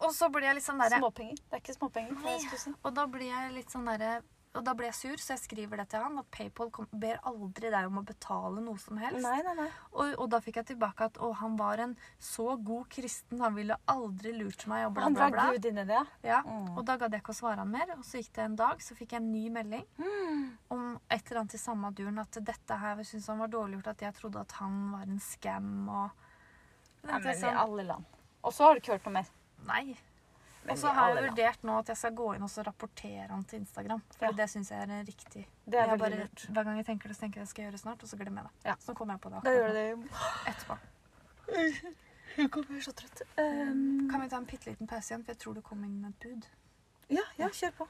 Speaker 2: Og så blir jeg litt sånn derre
Speaker 1: småpenger. Det er ikke småpenger. hva
Speaker 2: Nei.
Speaker 1: jeg skulle si.
Speaker 2: Og da blir jeg litt sånn derre og da blir jeg sur, så jeg skriver det til han. At PayPal kom, ber aldri deg om å betale noe som helst.
Speaker 1: Nei, nei, nei.
Speaker 2: Og, og da fikk jeg tilbake at å, han var en så god kristen, han ville aldri lurt meg, og bla,
Speaker 1: Han
Speaker 2: bla,
Speaker 1: drar
Speaker 2: bla.
Speaker 1: Gud inn i det, ja.
Speaker 2: Ja.
Speaker 1: Mm.
Speaker 2: Og da gadd jeg ikke å svare han mer. Og så gikk det en dag, så fikk jeg en ny melding
Speaker 1: Mm.
Speaker 2: om et eller annet i samme duren at dette her syntes han var dårlig gjort, at jeg trodde at han var en scam og
Speaker 1: Ja,
Speaker 2: Tenkte jeg
Speaker 1: men I
Speaker 2: sånn,
Speaker 1: alle land. Og så har du ikke hørt noe mer.
Speaker 2: Nei.
Speaker 1: Men
Speaker 2: Og så
Speaker 1: i
Speaker 2: har
Speaker 1: alle
Speaker 2: jeg
Speaker 1: land.
Speaker 2: vurdert nå at jeg skal gå inn og så rapportere han til Instagram. For
Speaker 1: Ja.
Speaker 2: det syns jeg er riktig.
Speaker 1: Det er
Speaker 2: jeg
Speaker 1: veldig
Speaker 2: bare,
Speaker 1: lurt.
Speaker 2: hver gang jeg tenker det, så tenker jeg det skal jeg gjøre snart, og så glemmer jeg det.
Speaker 1: Ja.
Speaker 2: Så kommer jeg på det
Speaker 1: (laughs) Da gjør
Speaker 2: akkurat
Speaker 1: du det. (laughs)
Speaker 2: nå, etterpå.
Speaker 1: Jeg kommer så trøtt. Um,
Speaker 2: Kan vi ta en bitte liten pause igjen, for jeg tror det kom inn et bud.
Speaker 1: ja, ja, kjør på.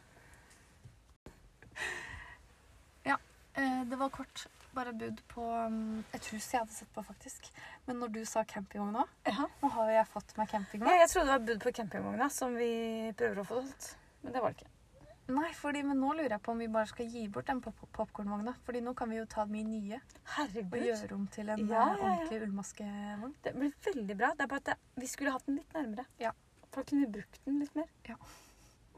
Speaker 2: Eh, det var kort bare bud på um, et hus jeg hadde sett på, faktisk. Men når du sa campingvogn nå
Speaker 1: Ja.
Speaker 2: Nå har jo jeg fått meg
Speaker 1: Ja,
Speaker 2: campingvogn.
Speaker 1: jeg trodde det var bud på campingvogna som vi prøver å få solgt. Men det var det ikke.
Speaker 2: Nei, fordi, men nå lurer jeg på om vi bare skal gi bort den pop popkornvogna. Fordi nå kan vi jo ta min nye og
Speaker 1: Herregud.
Speaker 2: gjøre om til en
Speaker 1: Ja,
Speaker 2: eh,
Speaker 1: ja, ja.
Speaker 2: ordentlig ullmaskevogn.
Speaker 1: Det blir veldig bra. Det er bare at det, vi skulle hatt den litt nærmere.
Speaker 2: Ja.
Speaker 1: For da kunne vi brukt den litt mer.
Speaker 2: Ja.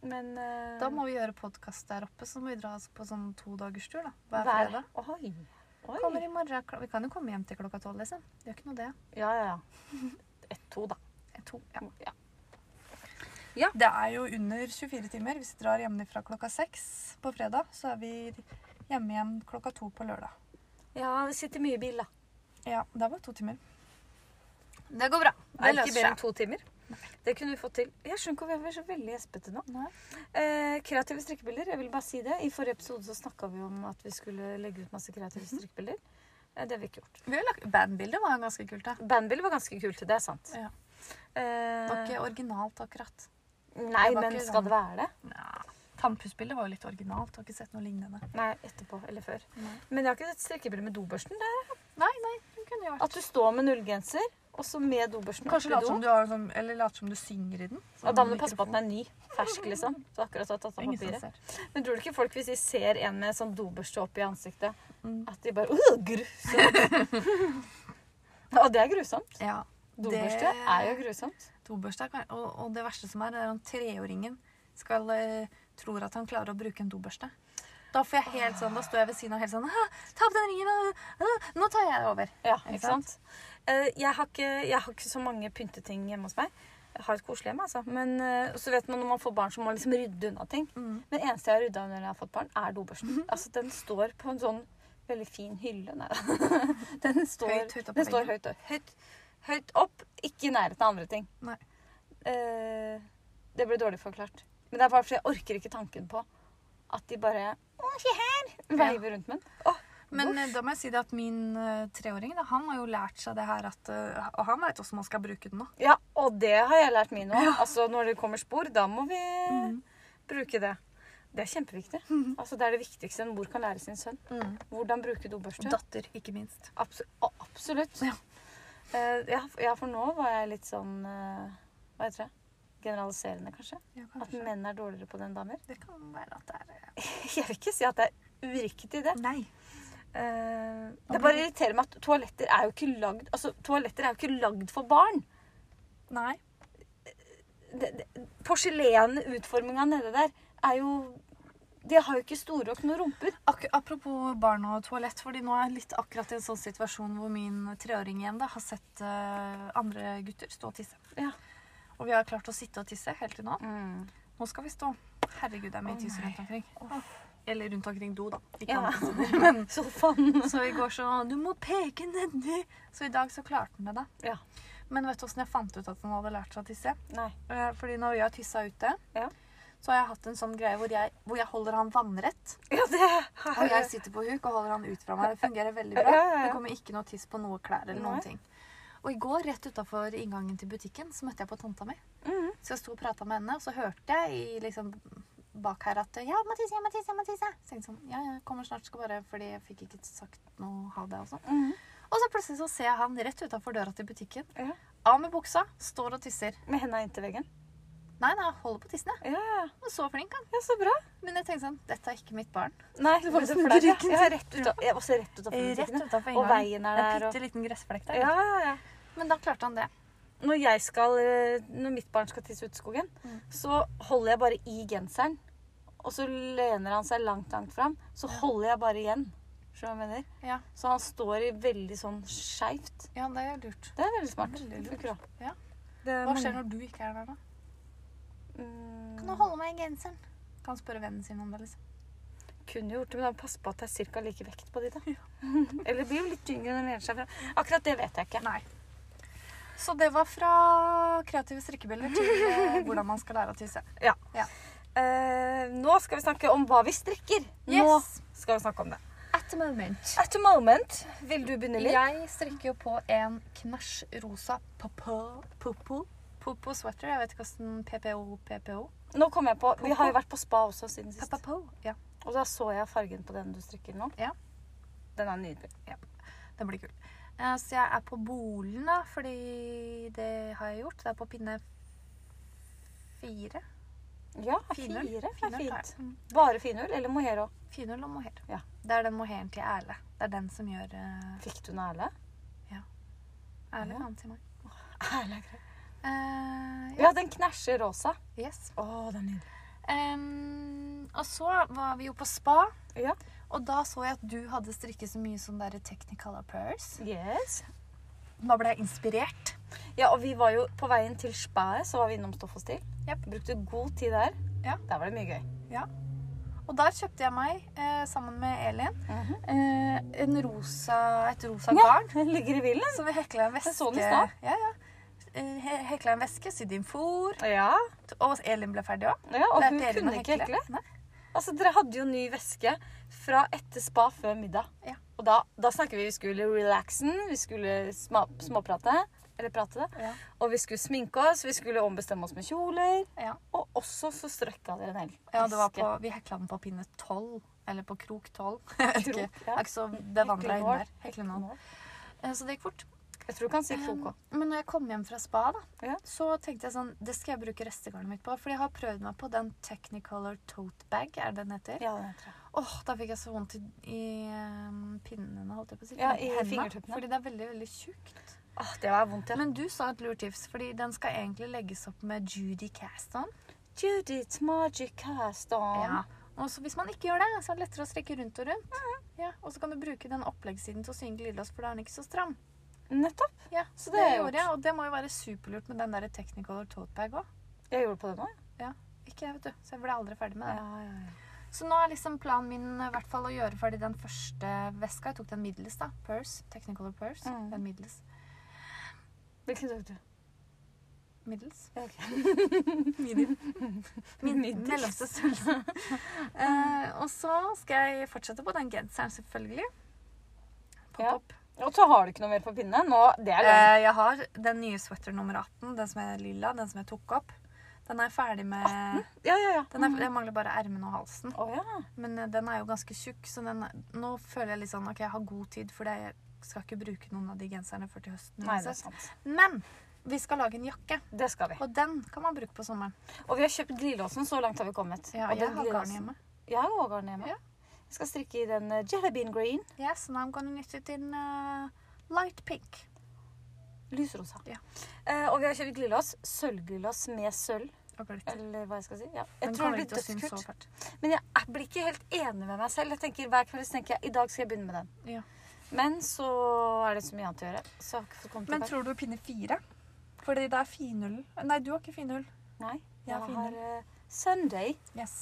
Speaker 1: Men eh,
Speaker 2: Da må vi gjøre podkast der oppe, så må vi dra oss på sånn todagerstur da, hver
Speaker 1: hver-
Speaker 2: fredag.
Speaker 1: Oi. Oi.
Speaker 2: Kommer i morgen. kl- Vi kan jo komme hjem til klokka tolv, liksom. Det gjør ikke noe, det.
Speaker 1: Ja, ja, ja. Ett-to, da.
Speaker 2: Eh, To, ja.
Speaker 1: Ja.
Speaker 2: Det er jo under 24 timer. Hvis vi drar hjemmefra klokka seks på fredag, så er vi hjemme igjen klokka to på lørdag.
Speaker 1: ja, det sitter mye i bil, da.
Speaker 2: Ja, det var to timer. Det går bra.
Speaker 1: Det er ikke mer enn to timer. Det kunne vi fått til. Jeg skjønner ikke hvorfor vi er så veldig gjespete nå.
Speaker 2: Nei.
Speaker 1: Eh, kreative strikkebilder. Jeg vil bare si det. I forrige episode så snakka vi om at vi skulle legge ut masse kreative
Speaker 2: Mhm.
Speaker 1: strikkebilder. Eh, det har vi ikke gjort.
Speaker 2: Vi har lagt, bandbildet var jo ganske kult, da.
Speaker 1: Bandbildet var ganske kult. Det er sant.
Speaker 2: Ja.
Speaker 1: Eh,
Speaker 2: Det var ikke originalt, akkurat.
Speaker 1: nei,
Speaker 2: det var
Speaker 1: men
Speaker 2: ikke
Speaker 1: skal
Speaker 2: sånn-
Speaker 1: det være det?
Speaker 2: Nja, Tannpussbildet var jo litt originalt. Har ikke sett noe lignende.
Speaker 1: Nei, etterpå eller før.
Speaker 2: Nei.
Speaker 1: Men jeg har ikke sett strikkebilder med dobørsten. Det.
Speaker 2: Nei, nei, hun kunne jo vært
Speaker 1: At du står med nullgenser, og så med dobørsten
Speaker 2: Kanskje
Speaker 1: oppi
Speaker 2: late
Speaker 1: do.
Speaker 2: som, du har en sånn, eller late som du synger i den. sånn
Speaker 1: Ja, da må du passe på at den er ny. Fersk, liksom. Du har akkurat har tatt av
Speaker 2: Ingen som
Speaker 1: papiret.
Speaker 2: ser.
Speaker 1: Men tror du ikke folk, hvis de ser en med sånn dobørste opp i ansiktet,
Speaker 2: Mm.
Speaker 1: at de bare «Åh, grusomt! Og det er grusomt.
Speaker 2: Ja.
Speaker 1: Dobørste er jo grusomt.
Speaker 2: Dobørste er kan- og, og det verste som er, det er om treåringen skal, eh, tror at han klarer å bruke en dobørste. Da får jeg helt sånn, da står jeg ved siden av helt sånn «Hæ, Ta opp den ringen! og- og- Nå tar jeg over.
Speaker 1: Ja,
Speaker 2: Ikke
Speaker 1: ikke sant? Eh, Jeg har ikke, jeg har ikke så mange pynteting hjemme hos meg. Jeg har et koselig hjem, altså. Men eh, så vet man når man får barn, så må man liksom rydde unna ting.
Speaker 2: Mm.
Speaker 1: Men det eneste jeg har rydda når jeg har fått barn, er dobørsten.
Speaker 2: Mhm.
Speaker 1: Altså, den står på en sånn veldig fin
Speaker 2: (laughs)
Speaker 1: hylle. Nei da. Den står,
Speaker 2: Høyt, høyt opp på
Speaker 1: den står
Speaker 2: veggen.
Speaker 1: høyt, opp- høyt, høyt opp, ikke i nærheten av andre ting.
Speaker 2: Nei.
Speaker 1: Eh, det ble dårlig forklart. Men det er bare fordi jeg orker ikke tanken på at de bare Å, se her! veiver rundt med den.
Speaker 2: Men eh, da må jeg si det at min eh, treåring da, han har jo lært seg det her at eh, Og han veit hvordan man skal bruke den nå.
Speaker 1: Ja, og det har jeg lært min òg. Altså, når det kommer spor, da må vi
Speaker 2: Mm.
Speaker 1: bruke det. Det er kjempeviktig.
Speaker 2: Mhm.
Speaker 1: Altså, det er det viktigste en mor kan lære sin sønn. Hvordan bruke dobørste.
Speaker 2: Datter, ikke minst.
Speaker 1: Abso å, absolutt.
Speaker 2: Ja.
Speaker 1: Eh, ja, f- ja, for nå var jeg litt sånn eh, Hva heter det? Generaliserende, kanskje?
Speaker 2: Ja,
Speaker 1: At menn er dårligere på det enn damer. (laughs)
Speaker 2: Det kan være at det er eh,
Speaker 1: Jeg vil ikke si at det er uriktig, det.
Speaker 2: Nei.
Speaker 1: Eh,
Speaker 2: Ja,
Speaker 1: det bare
Speaker 2: men-
Speaker 1: irriterer meg at toaletter er jo ikke lagd Altså, toaletter er jo ikke lagd for barn.
Speaker 2: Nei.
Speaker 1: det, det, porselenutforminga nede der er jo De har jo ikke store nok noen rumper.
Speaker 2: Ak apropos barn og toalett, fordi nå er jeg litt akkurat i en sånn situasjon hvor min treåring igjen da, har sett eh, andre gutter stå og tisse.
Speaker 1: Ja.
Speaker 2: Og vi har klart å sitte og tisse helt til nå. Nå skal vi stå. Herregud, det er mye
Speaker 1: Å,
Speaker 2: tiss
Speaker 1: nei.
Speaker 2: rundt omkring.
Speaker 1: Uff.
Speaker 2: Eller rundt omkring do, da. Ikke
Speaker 1: Ja.
Speaker 2: andre
Speaker 1: (laughs)
Speaker 2: steder.
Speaker 1: Sofaen.
Speaker 2: Så i går så Du må peke nedi! Så i dag så klarte han det, da.
Speaker 1: Ja.
Speaker 2: Men vet du åssen jeg fant ut at han hadde lært seg å tisse?
Speaker 1: Nei.
Speaker 2: Eh, Fordi når vi har tissa ute,
Speaker 1: Ja.
Speaker 2: så har jeg hatt en sånn greie hvor jeg, hvor jeg holder han vannrett.
Speaker 1: Ja, det har
Speaker 2: Og jeg sitter på huk og holder han ut fra meg. Det fungerer veldig
Speaker 1: (laughs) Ja,
Speaker 2: bra.
Speaker 1: ja, ja.
Speaker 2: Det kommer ikke noe tiss på noe klær eller
Speaker 1: Nei.
Speaker 2: noen ting. Og i går, rett utafor inngangen til butikken, så møtte jeg på tanta mi.
Speaker 1: Mhm.
Speaker 2: Så jeg sto og prata med henne, og så hørte jeg i liksom bak her at Ja, Mathis, ja, Mathis, ja, Mathis. ja. Så tenkte jeg sånn, ja, jeg kommer snart, skal bare Fordi jeg fikk ikke sagt noe ha det og sånn.
Speaker 1: Mhm.
Speaker 2: Og så plutselig så ser jeg han rett utafor døra til butikken.
Speaker 1: Ja.
Speaker 2: Av med buksa, står og tisser.
Speaker 1: Med henda inntil veggen.
Speaker 2: Nei, nei, han holder på tissen, jeg.
Speaker 1: Ja, ja.
Speaker 2: Og Så flink han.
Speaker 1: ja, så bra.
Speaker 2: Men jeg tenkte sånn, dette er ikke mitt barn.
Speaker 1: Nei, så var det
Speaker 2: Bare
Speaker 1: så
Speaker 2: snudde
Speaker 1: flaut. Ja,
Speaker 2: ryggen
Speaker 1: ja, rett ut av, ja, også rett
Speaker 2: Rett
Speaker 1: utafor butikkene.
Speaker 2: utafor
Speaker 1: Og
Speaker 2: inngangen.
Speaker 1: veien
Speaker 2: Det
Speaker 1: er
Speaker 2: er en
Speaker 1: der. Og...
Speaker 2: bitte liten gressflekk der.
Speaker 1: Ja, ja, ja.
Speaker 2: Men da klarte han det.
Speaker 1: Når jeg skal, eh, når mitt barn skal tisse ute i skogen,
Speaker 2: Mhm.
Speaker 1: så holder jeg bare i genseren. Og så lener han seg langt, langt fram. Så holder jeg bare igjen. Skjønner du hva jeg mener?
Speaker 2: Ja,
Speaker 1: Så han står i veldig sånn skeivt.
Speaker 2: ja det er lurt.
Speaker 1: Det er veldig smart.
Speaker 2: Veldig
Speaker 1: Det
Speaker 2: lurt.
Speaker 1: funker også.
Speaker 2: Ja.
Speaker 1: Det er
Speaker 2: Hva skjer
Speaker 1: mange-
Speaker 2: når du ikke er der, da?
Speaker 1: Mm,
Speaker 2: Kan du holde meg i genseren? Kan spørre vennen sin om det, liksom.
Speaker 1: Kunne gjort det, men da pass på at det er ca. like vekt på de, da. (laughs) Eller det blir jo litt tyngre når de lener seg fra. Akkurat det vet jeg ikke.
Speaker 2: Nei. Så det var fra kreative strikkebjeller til eh, (laughs) hvordan man skal lære å tisse.
Speaker 1: Eh, nå skal vi snakke om hva vi strikker. Nå
Speaker 2: Yes.
Speaker 1: skal vi snakke om det.
Speaker 2: At the moment.
Speaker 1: At the moment, vil du begynne litt?
Speaker 2: Jeg strikker jo på en knæsj rosa popo sweater. Jeg vet ikke hvordan PPO PPO.
Speaker 1: Nå kom jeg på, Vi har jo vært på spa også siden sist.
Speaker 2: Papapo. Ja,
Speaker 1: Og da så jeg fargen på den du strikker nå.
Speaker 2: Ja.
Speaker 1: Den er nydelig.
Speaker 2: den blir kul. Eh, Så jeg er på bolen, da, fordi det har jeg gjort. Det er på pinne fire.
Speaker 1: Ja, fire
Speaker 2: Finull.
Speaker 1: er
Speaker 2: Finull tar
Speaker 1: fint.
Speaker 2: jeg. Mm.
Speaker 1: Bare finull eller mohair òg?
Speaker 2: Finull og mohair.
Speaker 1: Ja.
Speaker 2: Det er den mohairen til Erle. Det er den som gjør eh,
Speaker 1: Fikk du noe Erle?
Speaker 2: Erle
Speaker 1: Ja.
Speaker 2: kan til meg.
Speaker 1: Erle er grei.
Speaker 2: Eh, ja.
Speaker 1: Ja, den knæsjer rosa.
Speaker 2: Yes.
Speaker 1: Å, den er nydelig.
Speaker 2: Em, og så var vi jo på spa,
Speaker 1: Ja.
Speaker 2: og da så jeg at du hadde strikket så mye sånn derre Technicolor Purse.
Speaker 1: Yes.
Speaker 2: Da ble jeg inspirert.
Speaker 1: Ja, og vi var jo på veien til spaet, så var vi innom Stoff og Stil.
Speaker 2: Japp.
Speaker 1: Brukte god tid der.
Speaker 2: Ja.
Speaker 1: Der var det mye gøy.
Speaker 2: Og der kjøpte jeg meg, eh, sammen med Elin,
Speaker 1: Mhm.
Speaker 2: eh, en rosa, et rosa
Speaker 1: Ja,
Speaker 2: garn.
Speaker 1: den (laughs) ligger i bilen.
Speaker 2: Så vi hekla en veske.
Speaker 1: Jeg så den i stad.
Speaker 2: Ja, ja. Eh, he- Hekla en veske, sydd inn fôr.
Speaker 1: Ja,
Speaker 2: Og Elin ble ferdig òg.
Speaker 1: ja og hun kunne ikke hekle. Altså, dere hadde jo ny veske fra etter spa før middag.
Speaker 2: Ja.
Speaker 1: Og da, da snakker vi vi skulle relaxen, vi skulle sma, småprate, eller prate det,
Speaker 2: Ja.
Speaker 1: og vi skulle sminke oss, vi skulle ombestemme oss med kjoler,
Speaker 2: Ja.
Speaker 1: og også så strøkka dere en hel
Speaker 2: Ja, det var
Speaker 1: veske.
Speaker 2: på, vi hekla den på pinne 12. Eller på krok 12. Jeg vet ikke.
Speaker 1: Krok,
Speaker 2: Jeg
Speaker 1: ja.
Speaker 2: er ikke så bevandra inn der. Heklenål.
Speaker 1: Heklenål.
Speaker 2: Eh, Så det gikk fort. Eh,
Speaker 1: Jeg tror du kan si krok òg.
Speaker 2: Men når jeg kom hjem fra spa, da,
Speaker 1: Ja.
Speaker 2: så tenkte jeg sånn Det skal jeg bruke restegarnet mitt på. For jeg har prøvd meg på den Technicolor tote bag, er det den heter?
Speaker 1: Ja, det tror jeg.
Speaker 2: Åh, da fikk jeg så vondt i, i eh, pinnene, holdt jeg på å si.
Speaker 1: Ja, i
Speaker 2: Hendene,
Speaker 1: fingertuppene.
Speaker 2: Fordi det er veldig, veldig tjukt.
Speaker 1: Åh, det var vondt, ja.
Speaker 2: Men du sa et lurt tips, fordi den skal egentlig legges opp med Judy Caston.
Speaker 1: Judith Magic Cast On.
Speaker 2: Ja. Og så hvis man ikke gjør det, så er det lettere å strikke rundt og rundt. Ja, og så kan du bruke den oppleggssiden til å sy en glidelås, for da er den ikke så stram.
Speaker 1: Nettopp.
Speaker 2: Ja,
Speaker 1: Så
Speaker 2: så
Speaker 1: det
Speaker 2: det,
Speaker 1: har jeg gjort.
Speaker 2: gjorde jeg, og det må jo være superlurt med den der Technicolor toatbag òg.
Speaker 1: Jeg gjorde på det nå.
Speaker 2: Ikke jeg, vet du. Så jeg ble aldri ferdig med
Speaker 1: Ja,
Speaker 2: det.
Speaker 1: ja, ja.
Speaker 2: Så nå er liksom planen min eh, i hvert fall å gjøre ferdig den første veska. Jeg tok den middels, da. Purse. Technicolor purse.
Speaker 1: Mm.
Speaker 2: Den middels.
Speaker 1: Hvilken tok du?
Speaker 2: Middels.
Speaker 1: Ja,
Speaker 2: (laughs)
Speaker 1: ok.
Speaker 2: Medium. Min
Speaker 1: Middels.
Speaker 2: mellomste størrelse.
Speaker 1: (laughs)
Speaker 2: Eh, og så skal jeg fortsette på den genseren, selvfølgelig. Pop
Speaker 1: Ja.
Speaker 2: opp.
Speaker 1: Og så har du ikke noe mer på pinne. Nå, det er løgn.
Speaker 2: Eh, jeg har den nye sweater nummer 18, den som er lilla, den som jeg tok opp. Den er jeg ferdig med
Speaker 1: Ja, ja, ja.
Speaker 2: den er, Jeg mangler bare ermen og halsen.
Speaker 1: Å ja.
Speaker 2: Men eh, den er jo ganske tjukk, så den, nå føler jeg litt sånn OK, jeg har god tid, for jeg skal ikke bruke noen av de genserne før til høsten.
Speaker 1: Nei, det er
Speaker 2: uansett.
Speaker 1: sant.
Speaker 2: Men vi skal lage en jakke,
Speaker 1: Det skal vi.
Speaker 2: og den kan man bruke på sommeren.
Speaker 1: Og vi har kjøpt glidelåsen. Så langt har vi kommet.
Speaker 2: Ja,
Speaker 1: Og
Speaker 2: jeg
Speaker 1: den
Speaker 2: har garn
Speaker 1: glidelåsen-
Speaker 2: hjemme.
Speaker 1: Jeg har også garn hjemme.
Speaker 2: Ja.
Speaker 1: Jeg skal strikke i den eh, jelly bean green.
Speaker 2: Yes, and I'm gonna knit it in eh, light pink.
Speaker 1: Lysrosa.
Speaker 2: Ja.
Speaker 1: Eh, og vi har kjøpt glidelås. Sølvglidelås med sølv.
Speaker 2: Og glitter.
Speaker 1: Eller hva jeg skal si. Ja. Jeg
Speaker 2: Den
Speaker 1: tror
Speaker 2: kommer
Speaker 1: det
Speaker 2: ikke til
Speaker 1: blir
Speaker 2: å synes så
Speaker 1: dødskult.
Speaker 2: fælt.
Speaker 1: Men jeg er- blir ikke helt enig med meg selv. Jeg tenker Hver kveld så tenker jeg i dag skal jeg begynne med den.
Speaker 2: Ja.
Speaker 1: Men så er det så mye annet å gjøre. Så jeg har ikke fått kommet
Speaker 2: Men
Speaker 1: tilbake.
Speaker 2: tror du pinne fire? Fordi det er finull. Nei, du har ikke finull.
Speaker 1: Nei,
Speaker 2: Jeg
Speaker 1: jeg
Speaker 2: finner
Speaker 1: har eh, Sunday.
Speaker 2: Yes.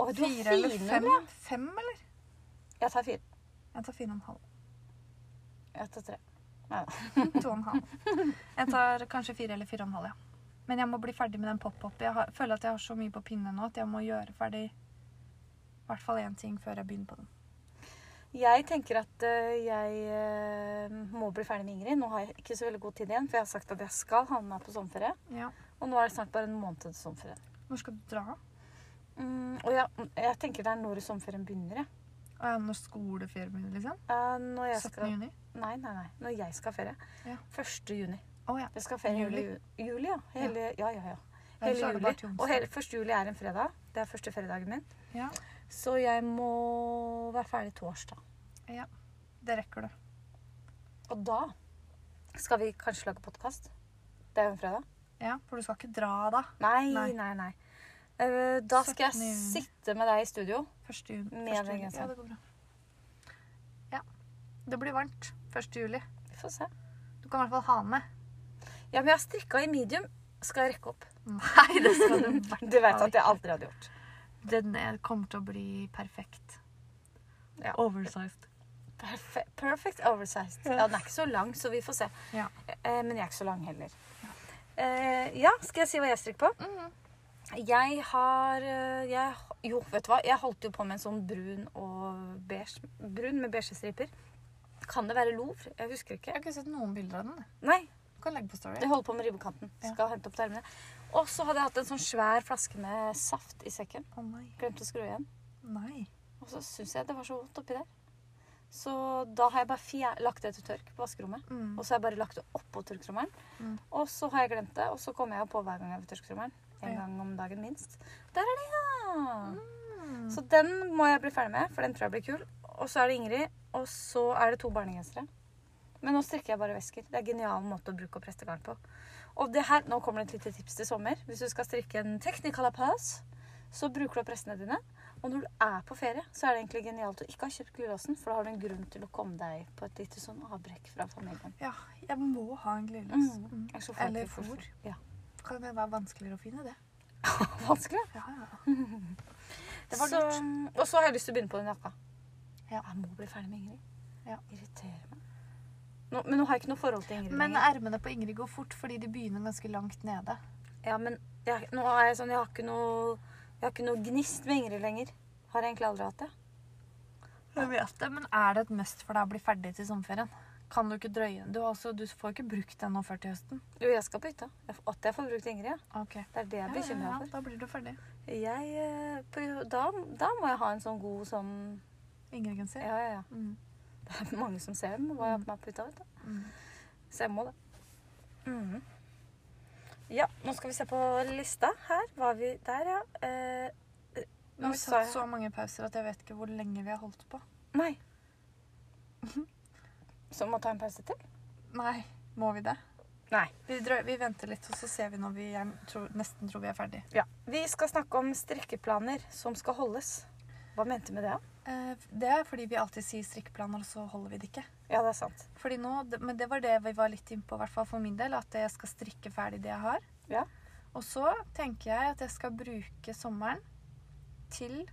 Speaker 1: Å, du har
Speaker 2: Fire eller fem?
Speaker 1: ja.
Speaker 2: Fem, eller?
Speaker 1: Jeg tar fire.
Speaker 2: Jeg tar fire og en (laughs) halv.
Speaker 1: Jeg tar tre.
Speaker 2: To og en halv. Jeg tar kanskje fire eller fire og en halv, ja. Men jeg må bli ferdig med den pop-up. Jeg har, føler at jeg har så mye på pinne nå at jeg må gjøre ferdig i hvert fall én ting før jeg begynner på den.
Speaker 1: Jeg tenker at eh, jeg eh, må bli ferdig med Ingrid. Nå har jeg ikke så veldig god tid igjen, for jeg har sagt at jeg skal ha med meg på sommerferie.
Speaker 2: Ja.
Speaker 1: Og nå er det snart bare en måned til sommerferie.
Speaker 2: Når skal du dra?
Speaker 1: Mm, og jeg, jeg tenker det er når sommerferien begynner, jeg.
Speaker 2: Å ja, Når skoleferien begynner, liksom?
Speaker 1: Eh, når jeg
Speaker 2: 17.
Speaker 1: skal,
Speaker 2: juni?
Speaker 1: nei, nei, nei. Når jeg skal ha ferie.
Speaker 2: Ja.
Speaker 1: 1. juni.
Speaker 2: Å ja.
Speaker 1: Jeg skal ha ferie
Speaker 2: Juli.
Speaker 1: juli. Juli, ja. Hele, ja, ja, ja.
Speaker 2: Ellers
Speaker 1: Hele
Speaker 2: er det
Speaker 1: juli.
Speaker 2: bare til
Speaker 1: Og
Speaker 2: onsdag.
Speaker 1: hele, 1. juli er en fredag. Det er første fredagen min.
Speaker 2: ja.
Speaker 1: Så jeg må være ferdig torsdag.
Speaker 2: Det rekker du.
Speaker 1: Og da skal vi kanskje lage podkast. Det er jo en fredag.
Speaker 2: Ja, For du skal ikke dra da?
Speaker 1: Nei, nei,
Speaker 2: Nei.
Speaker 1: nei. Eh, da skal jeg
Speaker 2: 17. juni.
Speaker 1: sitte med deg i studio.
Speaker 2: Første juni.
Speaker 1: Med
Speaker 2: Første juli.
Speaker 1: den
Speaker 2: Ja,
Speaker 1: genseren.
Speaker 2: det går bra. Ja. Det blir varmt 1. juli.
Speaker 1: Vi får se.
Speaker 2: Du kan i hvert fall ha den med.
Speaker 1: Ja, men jeg har strikka i medium. Skal
Speaker 2: (laughs)
Speaker 1: jeg rekke opp? (laughs)
Speaker 2: Nei, det skal du ikke.
Speaker 1: Du vet at jeg aldri hadde gjort.
Speaker 2: Den er, kommer til å bli perfekt.
Speaker 1: Ja.
Speaker 2: Oversized.
Speaker 1: Perfe perfect oversized.
Speaker 2: Ja.
Speaker 1: Ja. Den er ikke så lang, så vi får se.
Speaker 2: Ja.
Speaker 1: Eh, men jeg er ikke så lang heller. Eh, ja, skal jeg si hva jeg strikker på?
Speaker 2: Mhm.
Speaker 1: Jeg har eh, jeg, Jo, vet du hva? Jeg holdt jo på med en sånn brun og beige. Brun med beige striper. Kan det være Louvre? Jeg husker
Speaker 2: Jeg
Speaker 1: ikke.
Speaker 2: har ikke sett noen bilder av den. jeg.
Speaker 1: Nei,
Speaker 2: Du kan legge på story.
Speaker 1: jeg holder på med ribbekanten.
Speaker 2: Ja.
Speaker 1: Skal hente opp til armene. Og så hadde jeg hatt en sånn svær flaske med saft i sekken.
Speaker 2: Å nei.
Speaker 1: Glemte å skru igjen.
Speaker 2: Nei.
Speaker 1: Og så syns jeg det var så vondt oppi der. Så da har jeg bare fjer lagt det til tørk på vaskerommet.
Speaker 2: Mm.
Speaker 1: Og så har jeg bare lagt det oppå tørketrommelen.
Speaker 2: Mm.
Speaker 1: Og så har jeg glemt det, og så kommer jeg på hver gang jeg er ved tørketrommelen. En
Speaker 2: Ja.
Speaker 1: gang om dagen minst. Der er det, ja!
Speaker 2: Mm.
Speaker 1: Så den må jeg bli ferdig med, for den tror jeg blir kul. Og så er det Ingrid, og så er det to barnegensere. Men nå strikker jeg bare vesker. Det er en genial måte å bruke opp prestegarn på. Og det her, nå kommer det et lite tips til sommer. Hvis du skal strikke en Technicolor Palace, så bruker du opp restene dine. Og når du er på ferie, så er det egentlig genialt å ikke ha kjøpt glidelåsen, for da har du en grunn til å komme deg på et lite sånn avbrekk fra familien.
Speaker 2: Ja, jeg må ha en glidelås.
Speaker 1: Mm.
Speaker 2: Mm.
Speaker 1: Jeg er så flink
Speaker 2: Eller
Speaker 1: til fôr.
Speaker 2: fôr.
Speaker 1: Ja.
Speaker 2: Kan det være vanskeligere å finne det?
Speaker 1: Vanskelig.
Speaker 2: Ja, ja. Det var
Speaker 1: så,
Speaker 2: lurt.
Speaker 1: Og så har jeg lyst til å begynne på den jakka.
Speaker 2: Ja.
Speaker 1: Jeg må bli ferdig med Ingrid.
Speaker 2: Ja.
Speaker 1: Irriterer meg. Nå, men nå har jeg ikke noe forhold til Ingrid
Speaker 2: Men
Speaker 1: lenger.
Speaker 2: ermene på Ingrid går fort, fordi de begynner ganske langt nede.
Speaker 1: Ja, men jeg, nå er jeg sånn, jeg har ikke noe Jeg har ikke noe gnist med Ingrid lenger. Har jeg egentlig aldri hatt det.
Speaker 2: Jeg vet det, men er det et must for deg å bli ferdig til sommerferien? Kan du ikke drøye den? Du, har også- du får ikke brukt den nå før til høsten.
Speaker 1: Jo, jeg skal på hytta. Jeg- At jeg får brukt Ingrid, ja.
Speaker 2: Ok.
Speaker 1: Det er det jeg bekymrer meg for.
Speaker 2: Da blir du ferdig.
Speaker 1: Jeg, eh, på, da, da må jeg ha en sånn god sånn
Speaker 2: Ingrid-genser.
Speaker 1: Ja, ja, (laughs) ja.
Speaker 2: Mm.
Speaker 1: Det er mange som ser den, hva jeg har på meg på hytta. vet du.
Speaker 2: Mm.
Speaker 1: Så jeg må det. Mhm. Ja, nå skal vi se på lista her. Var vi der, ja. Eh, eh,
Speaker 2: Vi har
Speaker 1: sa
Speaker 2: tatt
Speaker 1: jeg-
Speaker 2: så mange pauser at jeg vet ikke hvor lenge vi har holdt på.
Speaker 1: Nei. (laughs) Så må jeg ta en pause til?
Speaker 2: Nei, må vi det?
Speaker 1: Nei.
Speaker 2: Vi, drø- vi venter litt, og så ser vi når vi er, tror, nesten tror vi er ferdig.
Speaker 1: Ja. Vi skal snakke om strikkeplaner som skal holdes. Hva mente du med det? da?
Speaker 2: Eh, Det er fordi vi alltid sier strikkeplaner, og så holder vi det ikke.
Speaker 1: Ja, det er sant.
Speaker 2: Fordi nå, det- Men det var det vi var litt innpå, i hvert fall for min del, at jeg skal strikke ferdig det jeg har.
Speaker 1: Ja.
Speaker 2: Og så tenker jeg at jeg skal bruke sommeren til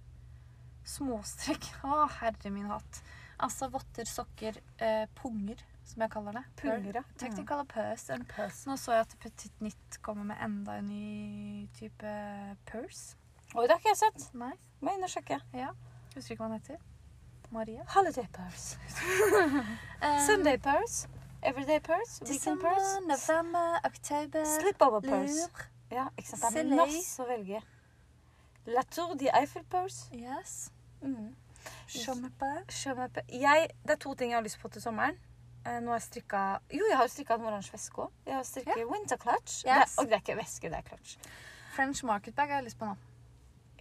Speaker 2: småstrikk. (laughs) Å, herre min hatt. Altså votter, sokker, eh, punger, som jeg kaller det. Pearl-
Speaker 1: Punger, ja. Mm.
Speaker 2: Technical purse. and-
Speaker 1: Purse.
Speaker 2: Nå så jeg at Petit Nytt kommer med enda en ny type purse.
Speaker 1: Oi, det har ikke jeg sett.
Speaker 2: Nei,
Speaker 1: Må inn og sjekke.
Speaker 2: husker ikke hva den heter. Maria.
Speaker 1: Holiday purse.
Speaker 2: Eh,
Speaker 1: Sunday purse. Everyday purse.
Speaker 2: Um,
Speaker 1: Weekend
Speaker 2: December,
Speaker 1: purse.
Speaker 2: november, oktober,
Speaker 1: Slipover purse.
Speaker 2: lur.
Speaker 1: Ja, ikke sant. Det er
Speaker 2: Soleil.
Speaker 1: masse å velge. La Tour de Eiffel purse.
Speaker 2: Yes.
Speaker 1: Mm.
Speaker 2: Sommerbar.
Speaker 1: Sjå meg på- Jeg, det er to ting jeg har lyst på til sommeren. Eh, Nå har jeg strikka Jo, jeg har strikka en oransje veske òg. Jeg har strikket winter clutch.
Speaker 2: Yes.
Speaker 1: Det, og det er ikke veske, det er clutch.
Speaker 2: French market bag har jeg lyst på nå.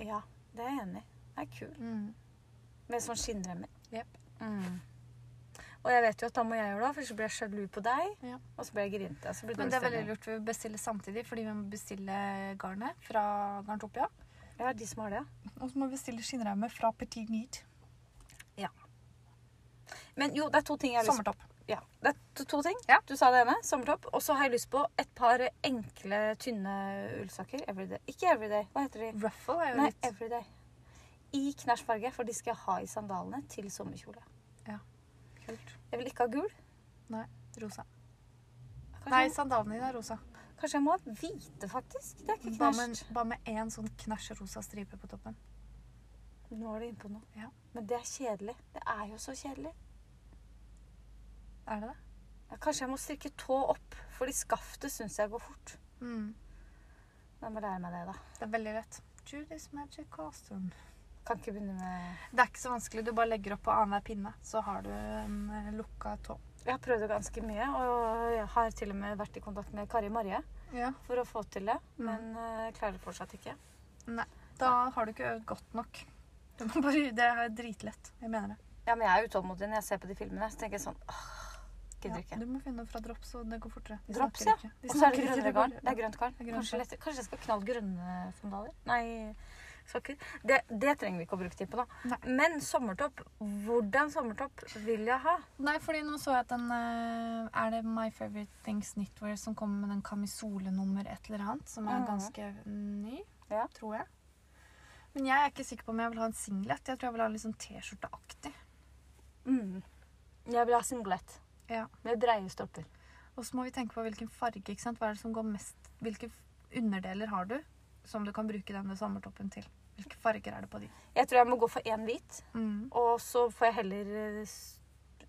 Speaker 1: Ja, det er jeg enig i. Det er kul.
Speaker 2: Mm.
Speaker 1: Med sånn skinnremmer.
Speaker 2: Jep.
Speaker 1: Mm. Og jeg vet jo at da må jeg gjøre det, for ellers blir jeg sjalu på deg.
Speaker 2: Ja.
Speaker 1: Og så blir jeg grinete. og så blir
Speaker 2: Men det er veldig
Speaker 1: dårlig stemning.
Speaker 2: lurt å bestille samtidig, fordi vi må bestille garnet fra Garntopia.
Speaker 1: Ja, de som har det, ja.
Speaker 2: Og så må vi bestille skinnraume fra Petit Need.
Speaker 1: Men jo, det er to ting jeg har lyst på.
Speaker 2: Sommertopp.
Speaker 1: Ja, det er to, to ting.
Speaker 2: Ja.
Speaker 1: Du sa det ene, sommertopp. Og så har jeg lyst på et par enkle, tynne ullsokker. Everyday. Ikke everyday. Hva heter de?
Speaker 2: Ruffle er jo
Speaker 1: Nei,
Speaker 2: litt
Speaker 1: everyday. I knæsjfarge, for de skal jeg ha i sandalene til sommerkjole.
Speaker 2: kult.
Speaker 1: Jeg vil ikke ha gul.
Speaker 2: Rosa.
Speaker 1: Kanskje,
Speaker 2: Nei, sandalene dine er rosa.
Speaker 1: kanskje jeg må ha hvite, faktisk. Det er ikke
Speaker 2: Bare med,
Speaker 1: knæsj.
Speaker 2: bare med én sånn knæsj rosa stripe på toppen.
Speaker 1: Nå er du inne på noe.
Speaker 2: Ja.
Speaker 1: Men det er kjedelig. Det er jo så kjedelig.
Speaker 2: Er det det?
Speaker 1: Ja, kanskje jeg må strikke tå opp, fordi skaftet syns jeg går fort.
Speaker 2: Mm.
Speaker 1: Jeg må lære meg det, da.
Speaker 2: Det er veldig lett. Judy's Magic Costume.
Speaker 1: Kan ikke begynne med
Speaker 2: Det er ikke så vanskelig. Du bare legger opp på annenhver pinne, så har du en eh, lukka tå.
Speaker 1: Jeg har prøvd det ganske mye, og jeg har til og med vært i kontakt med Kari Marie
Speaker 2: Ja.
Speaker 1: for å få til det,
Speaker 2: Mm.
Speaker 1: men eh, klarer det fortsatt ikke.
Speaker 2: Da har du ikke øvd godt nok. Du må bare, det er dritlett. Jeg mener det.
Speaker 1: Ja, men jeg er utålmodig når jeg ser på de filmene, så tenker jeg sånn åh, gidder ikke.
Speaker 2: Ja, du må finne noe fra drops, og det går fortere. De
Speaker 1: Drops,
Speaker 2: snakker
Speaker 1: ja.
Speaker 2: ikke. De
Speaker 1: Og så er det
Speaker 2: snakker ikke,
Speaker 1: grønnere garn. Det er
Speaker 2: går-
Speaker 1: grønt garn.
Speaker 2: Det er grønt
Speaker 1: Kanskje,
Speaker 2: garn.
Speaker 1: lettere- kanskje jeg skal knalle grønne sandaler? Nei, sokker. Det, det trenger vi ikke å bruke tid på nå.
Speaker 2: Nei.
Speaker 1: Men sommertopp. Hvordan sommertopp vil jeg ha?
Speaker 2: Nei, fordi nå så jeg at den eh, Er det My Favorite Things Knitwear som kommer med den kamisolenummer et eller annet, som er
Speaker 1: Mhm.
Speaker 2: ganske ny,
Speaker 1: Ja.
Speaker 2: tror jeg. Men jeg er ikke sikker på om jeg vil ha en singlet. Jeg tror jeg vil ha en litt sånn T-skjorteaktig.
Speaker 1: Mm. Jeg vil ha singlet.
Speaker 2: Ja.
Speaker 1: Med breie stopper.
Speaker 2: Og så må vi tenke på hvilken farge. ikke sant? Hva er det som går mest? Hvilke underdeler har du som du kan bruke denne sommertoppen til? Hvilke farger er det på de?
Speaker 1: Jeg tror jeg må gå for én hvit,
Speaker 2: Mm.
Speaker 1: og så får jeg heller, eh, s-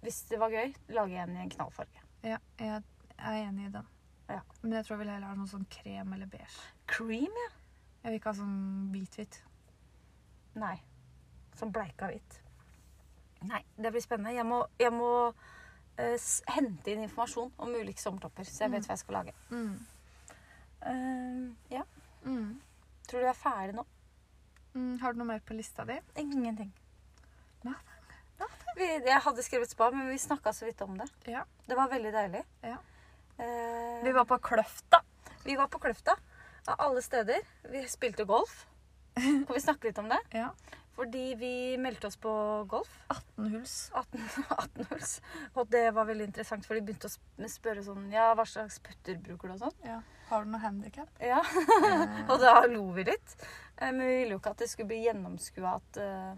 Speaker 1: hvis det var gøy, lage en i en knallfarge.
Speaker 2: Ja, jeg er enig i den.
Speaker 1: Ja.
Speaker 2: Men jeg tror jeg vil heller ha noe sånn krem eller beige.
Speaker 1: Cream, ja?
Speaker 2: Jeg vil ikke ha sånn hvit-hvit.
Speaker 1: Nei. Som bleika hvitt. Nei, det blir spennende. Jeg må, jeg må eh, s- hente inn informasjon om ulike sommertopper, så jeg
Speaker 2: Mm. Eh,
Speaker 1: vet hva jeg skal lage.
Speaker 2: Mm.
Speaker 1: ja.
Speaker 2: Mm.
Speaker 1: Tror du jeg er ferdig nå?
Speaker 2: Mm. Har du noe mer på lista di?
Speaker 1: Ingenting.
Speaker 2: Nothing.
Speaker 1: Vi, jeg hadde skrevet spa, men vi snakka så vidt om det.
Speaker 2: Ja.
Speaker 1: Det var veldig deilig.
Speaker 2: Ja.
Speaker 1: Eh,
Speaker 2: Vi var på Kløfta.
Speaker 1: vi var på Kløfta. Av alle steder. Vi spilte golf.
Speaker 2: (laughs)
Speaker 1: Kan vi snakke litt om det?
Speaker 2: Ja.
Speaker 1: Fordi vi meldte oss på golf.
Speaker 2: 18 huls.
Speaker 1: 18 (laughs) 18-hulls. og det var veldig interessant, for de begynte å sp- spørre sånn Ja, hva slags putter bruker du, og sånn.
Speaker 2: Ja. Har du noe (laughs) Eh, handikap?
Speaker 1: Ja. (laughs) Og da lo vi litt. Eh, Men vi ville jo ikke at det skulle bli gjennomskua at eh,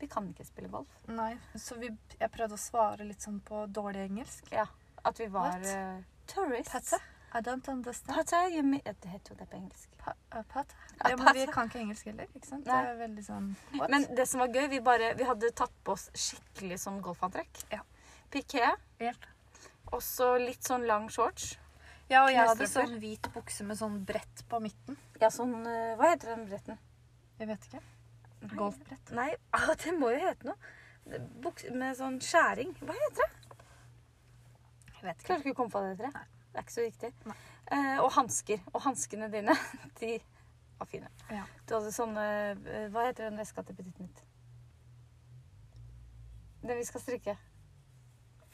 Speaker 1: vi kan ikke spille golf.
Speaker 2: Nei. Så vi, jeg prøvde å svare litt sånn på dårlig engelsk.
Speaker 1: Ja, at vi var
Speaker 2: What?
Speaker 1: uh, tourists.
Speaker 2: Patte? I don't understand.
Speaker 1: Patte, you mean- Ja, Det heter jo det på engelsk.
Speaker 2: Pa- uh, Pat.
Speaker 1: Ja,
Speaker 2: Ja, men
Speaker 1: pat.
Speaker 2: vi kan ikke engelsk heller. ikke sant?
Speaker 1: Nei.
Speaker 2: Det er veldig sånn What?
Speaker 1: Men det som var gøy, vi, bare, vi hadde tatt på oss skikkelig sånn golfantrekk.
Speaker 2: Ja.
Speaker 1: Piké,
Speaker 2: Helt.
Speaker 1: og så litt sånn lang shorts.
Speaker 2: Ja, og jeg hadde
Speaker 1: Knestrømper.
Speaker 2: sånn hvit bukse med sånn brett på midten.
Speaker 1: Ja, sånn eh, Hva heter den bretten?
Speaker 2: Jeg vet ikke.
Speaker 1: Nei.
Speaker 2: Golfbrett.
Speaker 1: Nei, ah, det må jo hete noe. Buks med sånn skjæring. Hva heter det?
Speaker 2: Jeg vet
Speaker 1: Klarer ikke å komme på det, tror
Speaker 2: Nei.
Speaker 1: jeg. Det er ikke så viktig.
Speaker 2: Nei.
Speaker 1: Eh, og hansker. Og hanskene dine, (laughs) de var fine.
Speaker 2: Ja.
Speaker 1: Du hadde sånne eh, Hva heter den veska til Petit Nytt? Den vi skal strikke.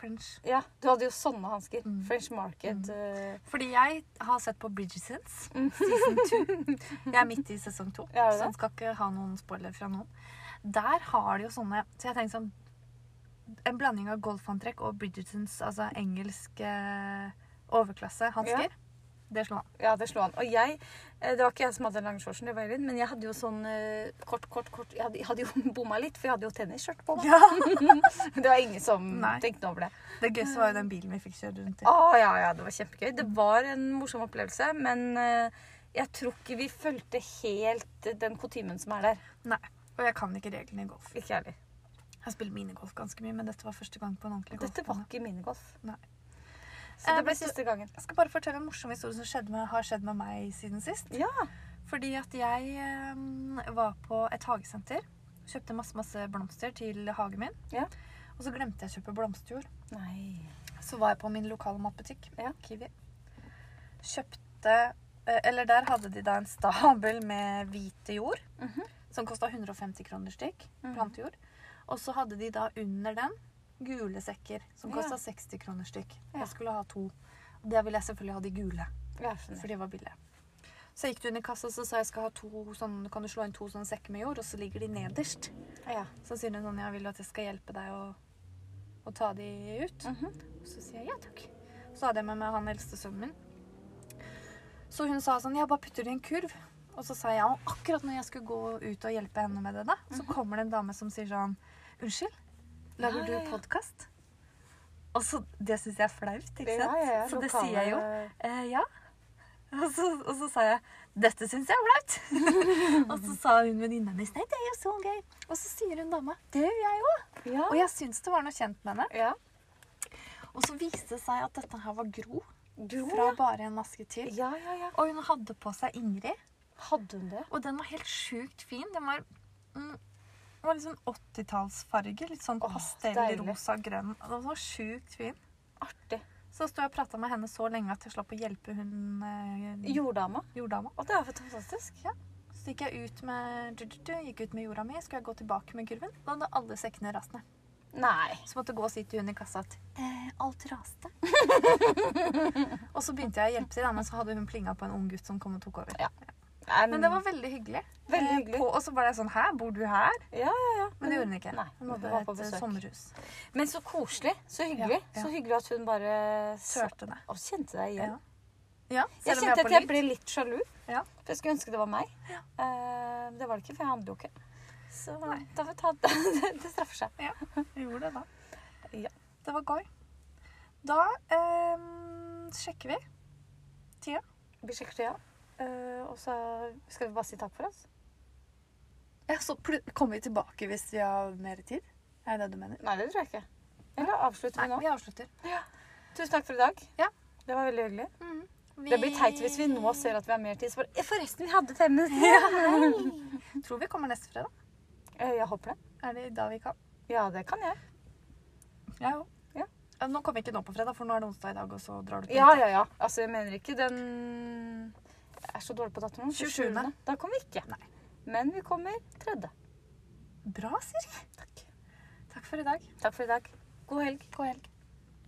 Speaker 2: French.
Speaker 1: Ja, du hadde jo sånne hansker.
Speaker 2: Mm.
Speaker 1: French Market.
Speaker 2: Mm.
Speaker 1: eh,
Speaker 2: Fordi jeg har sett på Bridgesons
Speaker 1: Mm.
Speaker 2: season 2. Jeg er midt i sesong 2,
Speaker 1: Ja, er du
Speaker 2: så
Speaker 1: det?
Speaker 2: jeg skal ikke ha noen spoiler fra noen. der har de jo sånne Så jeg tenkte sånn En blanding av golfantrekk og Bridgertons, altså engelsk eh, overklassehansker. Det slo han.
Speaker 1: Ja, det slo han. Og jeg eh, Det var ikke jeg som hadde den lange shortsen, det var Elin, men jeg hadde jo sånn eh, kort, kort, kort Jeg hadde, jeg hadde jo (laughs) bomma litt, for jeg hadde jo tennisskjørt på meg. Det var ingen som
Speaker 2: Nei.
Speaker 1: tenkte noe over det.
Speaker 2: Det gøyeste var jo den bilen vi fikk kjøre rundt i.
Speaker 1: Å ja, ja, det var kjempegøy. Det var en morsom opplevelse, men eh, jeg tror ikke vi fulgte helt den kutymen som er der.
Speaker 2: Nei. Og jeg kan ikke reglene i golf.
Speaker 1: Ikke jeg heller.
Speaker 2: Jeg spiller minigolf ganske mye, men dette var første gang på en ordentlig
Speaker 1: Dette var
Speaker 2: golfbane.
Speaker 1: ikke minigolf.
Speaker 2: Nei.
Speaker 1: Så
Speaker 2: Eh,
Speaker 1: det ble
Speaker 2: vet du-
Speaker 1: siste gangen.
Speaker 2: Jeg skal bare fortelle en morsom historie som skjedde med, har skjedd med meg siden sist.
Speaker 1: Ja.
Speaker 2: Fordi at jeg eh, var på et hagesenter. Kjøpte masse, masse blomster til hagen min.
Speaker 1: Ja.
Speaker 2: Og så glemte jeg å kjøpe blomsterjord.
Speaker 1: Nei.
Speaker 2: Så var jeg på min lokale matbutikk,
Speaker 1: Ja.
Speaker 2: Kiwi. Kjøpte eh, Eller der hadde de da en stabel med hvite jord.
Speaker 1: Mhm.
Speaker 2: Som kosta 150 kroner stykk.
Speaker 1: Mhm.
Speaker 2: Plantejord. Og så hadde de da under den gule sekker som
Speaker 1: Ja.
Speaker 2: kosta 60 kroner stykk.
Speaker 1: Ja.
Speaker 2: Jeg skulle ha to. Og der ville jeg selvfølgelig ha de gule,
Speaker 1: Jeg skjønner.
Speaker 2: for de var billige. Så jeg gikk under kassa og sa jeg skal ha to sånn, kan du slå inn to sånne sekker med jord, og så ligger de nederst.
Speaker 1: Ja.
Speaker 2: Så sier hun sånn, jeg vil at jeg skal hjelpe deg å, å ta de ut.
Speaker 1: Mhm.
Speaker 2: Og så sier jeg ja takk. Så hadde jeg med meg han eldste sønnen min. Så hun sa sånn, jeg bare putter det i en kurv. Og så sa jeg, og akkurat når jeg skulle gå ut og hjelpe henne med det da, så kommer det en dame som sier sånn, unnskyld, lager
Speaker 1: Ja, ja, ja.
Speaker 2: du podcast? Og så, det synes jeg er flaut, ikke sant? så det sier jeg jo. Eh, ja. Og så, og så sa jeg, dette synes jeg er flaut. (laughs) og så sa hun venninna hennes, nei, det er jo så gøy. Og så sier hun dama, det gjør jeg også.
Speaker 1: Ja.
Speaker 2: Og jeg synes det var noe kjent med henne.
Speaker 1: ja.
Speaker 2: Og så viste det seg at dette her var Gro
Speaker 1: Gro,
Speaker 2: fra
Speaker 1: ja.
Speaker 2: Bare en maske til.
Speaker 1: Ja, ja, ja.
Speaker 2: Og hun hadde på seg Ingrid,
Speaker 1: Hadde hun det?
Speaker 2: og den var helt sjukt fin. Den var, mm, den var litt sånn 80-tallsfarge, litt sånn
Speaker 1: Åh,
Speaker 2: pastellrosa grønn. Og Den var sjukt fin.
Speaker 1: Artig.
Speaker 2: Så sto jeg og prata med henne så lenge at jeg slapp å hjelpe hun eh,
Speaker 1: Jorddama.
Speaker 2: jorddama.
Speaker 1: Å, det er jo fantastisk. Ja.
Speaker 2: Så gikk jeg ut med, du, du, du, gikk ut med jorda mi, skulle jeg gå tilbake med kurven. Da hadde alle sekkene rast ned.
Speaker 1: Nei.
Speaker 2: Så måtte jeg gå og si til hun i kassa at eh, alt raste. (laughs) og så begynte jeg å hjelpe til, da, men så hadde hun plinga på en ung gutt som kom og tok over.
Speaker 1: Nei,
Speaker 2: Men det var veldig hyggelig.
Speaker 1: Veldig
Speaker 2: Eh,
Speaker 1: hyggelig.
Speaker 2: På, og så var det sånn Hæ, bor du her?
Speaker 1: Ja, ja, ja.
Speaker 2: Men det gjorde hun ikke.
Speaker 1: Nei,
Speaker 2: hun
Speaker 1: hun
Speaker 2: hadde
Speaker 1: var på
Speaker 2: et eh,
Speaker 1: besøk.
Speaker 2: sommerhus.
Speaker 1: Men så koselig. Så hyggelig.
Speaker 2: Ja, ja.
Speaker 1: Så hyggelig at hun bare sa-
Speaker 2: Tørte det.
Speaker 1: Å, kjente deg igjen.
Speaker 2: Ja. Ja,
Speaker 1: Jeg
Speaker 2: selv om vi
Speaker 1: kjente
Speaker 2: er
Speaker 1: at
Speaker 2: på
Speaker 1: jeg
Speaker 2: litt.
Speaker 1: ble litt sjalu.
Speaker 2: Ja.
Speaker 1: For jeg skulle ønske det var meg.
Speaker 2: Ja.
Speaker 1: Eh, det var det ikke, for jeg handler jo ikke. Så
Speaker 2: Nei.
Speaker 1: da får vi ta det. (laughs) Det straffer seg.
Speaker 2: Vi gjorde det, da.
Speaker 1: Ja.
Speaker 2: Det var gøy. Da eh, sjekker vi.
Speaker 1: Vi sjekker tida. Eh, og så skal vi bare si takk for oss.
Speaker 2: Ja, Så pl- kommer vi tilbake hvis vi har mer tid? Er det det du mener?
Speaker 1: Nei, det tror jeg ikke. Eller avslutter
Speaker 2: Nei,
Speaker 1: vi nå?
Speaker 2: vi avslutter.
Speaker 1: Tusen takk for i dag.
Speaker 2: Ja.
Speaker 1: Det var veldig hyggelig.
Speaker 2: Vi-
Speaker 1: Det blir teit hvis vi nå ser at vi har mer tid. Så bare, «Eh, forresten, vi hadde fem minutter.
Speaker 2: Hei! Tror vi kommer neste fredag.
Speaker 1: (laughs) Eh, Jeg håper det.
Speaker 2: Er det da vi kan?
Speaker 1: Ja, det kan jeg.
Speaker 2: Ja, jo.
Speaker 1: Ja.
Speaker 2: Ja, Nå kommer vi ikke nå på fredag, for nå er det onsdag i dag, og så drar du til
Speaker 1: Ja, ja, ja. Altså, jeg mener ikke den Jeg er så dårlig på datoen.
Speaker 2: 27..
Speaker 1: Da kommer vi ikke.
Speaker 2: Nei.
Speaker 1: Men vi kommer tredje.
Speaker 2: Bra, Siri.
Speaker 1: Takk.
Speaker 2: Takk for i dag.
Speaker 1: Tá, Takk for i dag. God helg.
Speaker 2: God helg.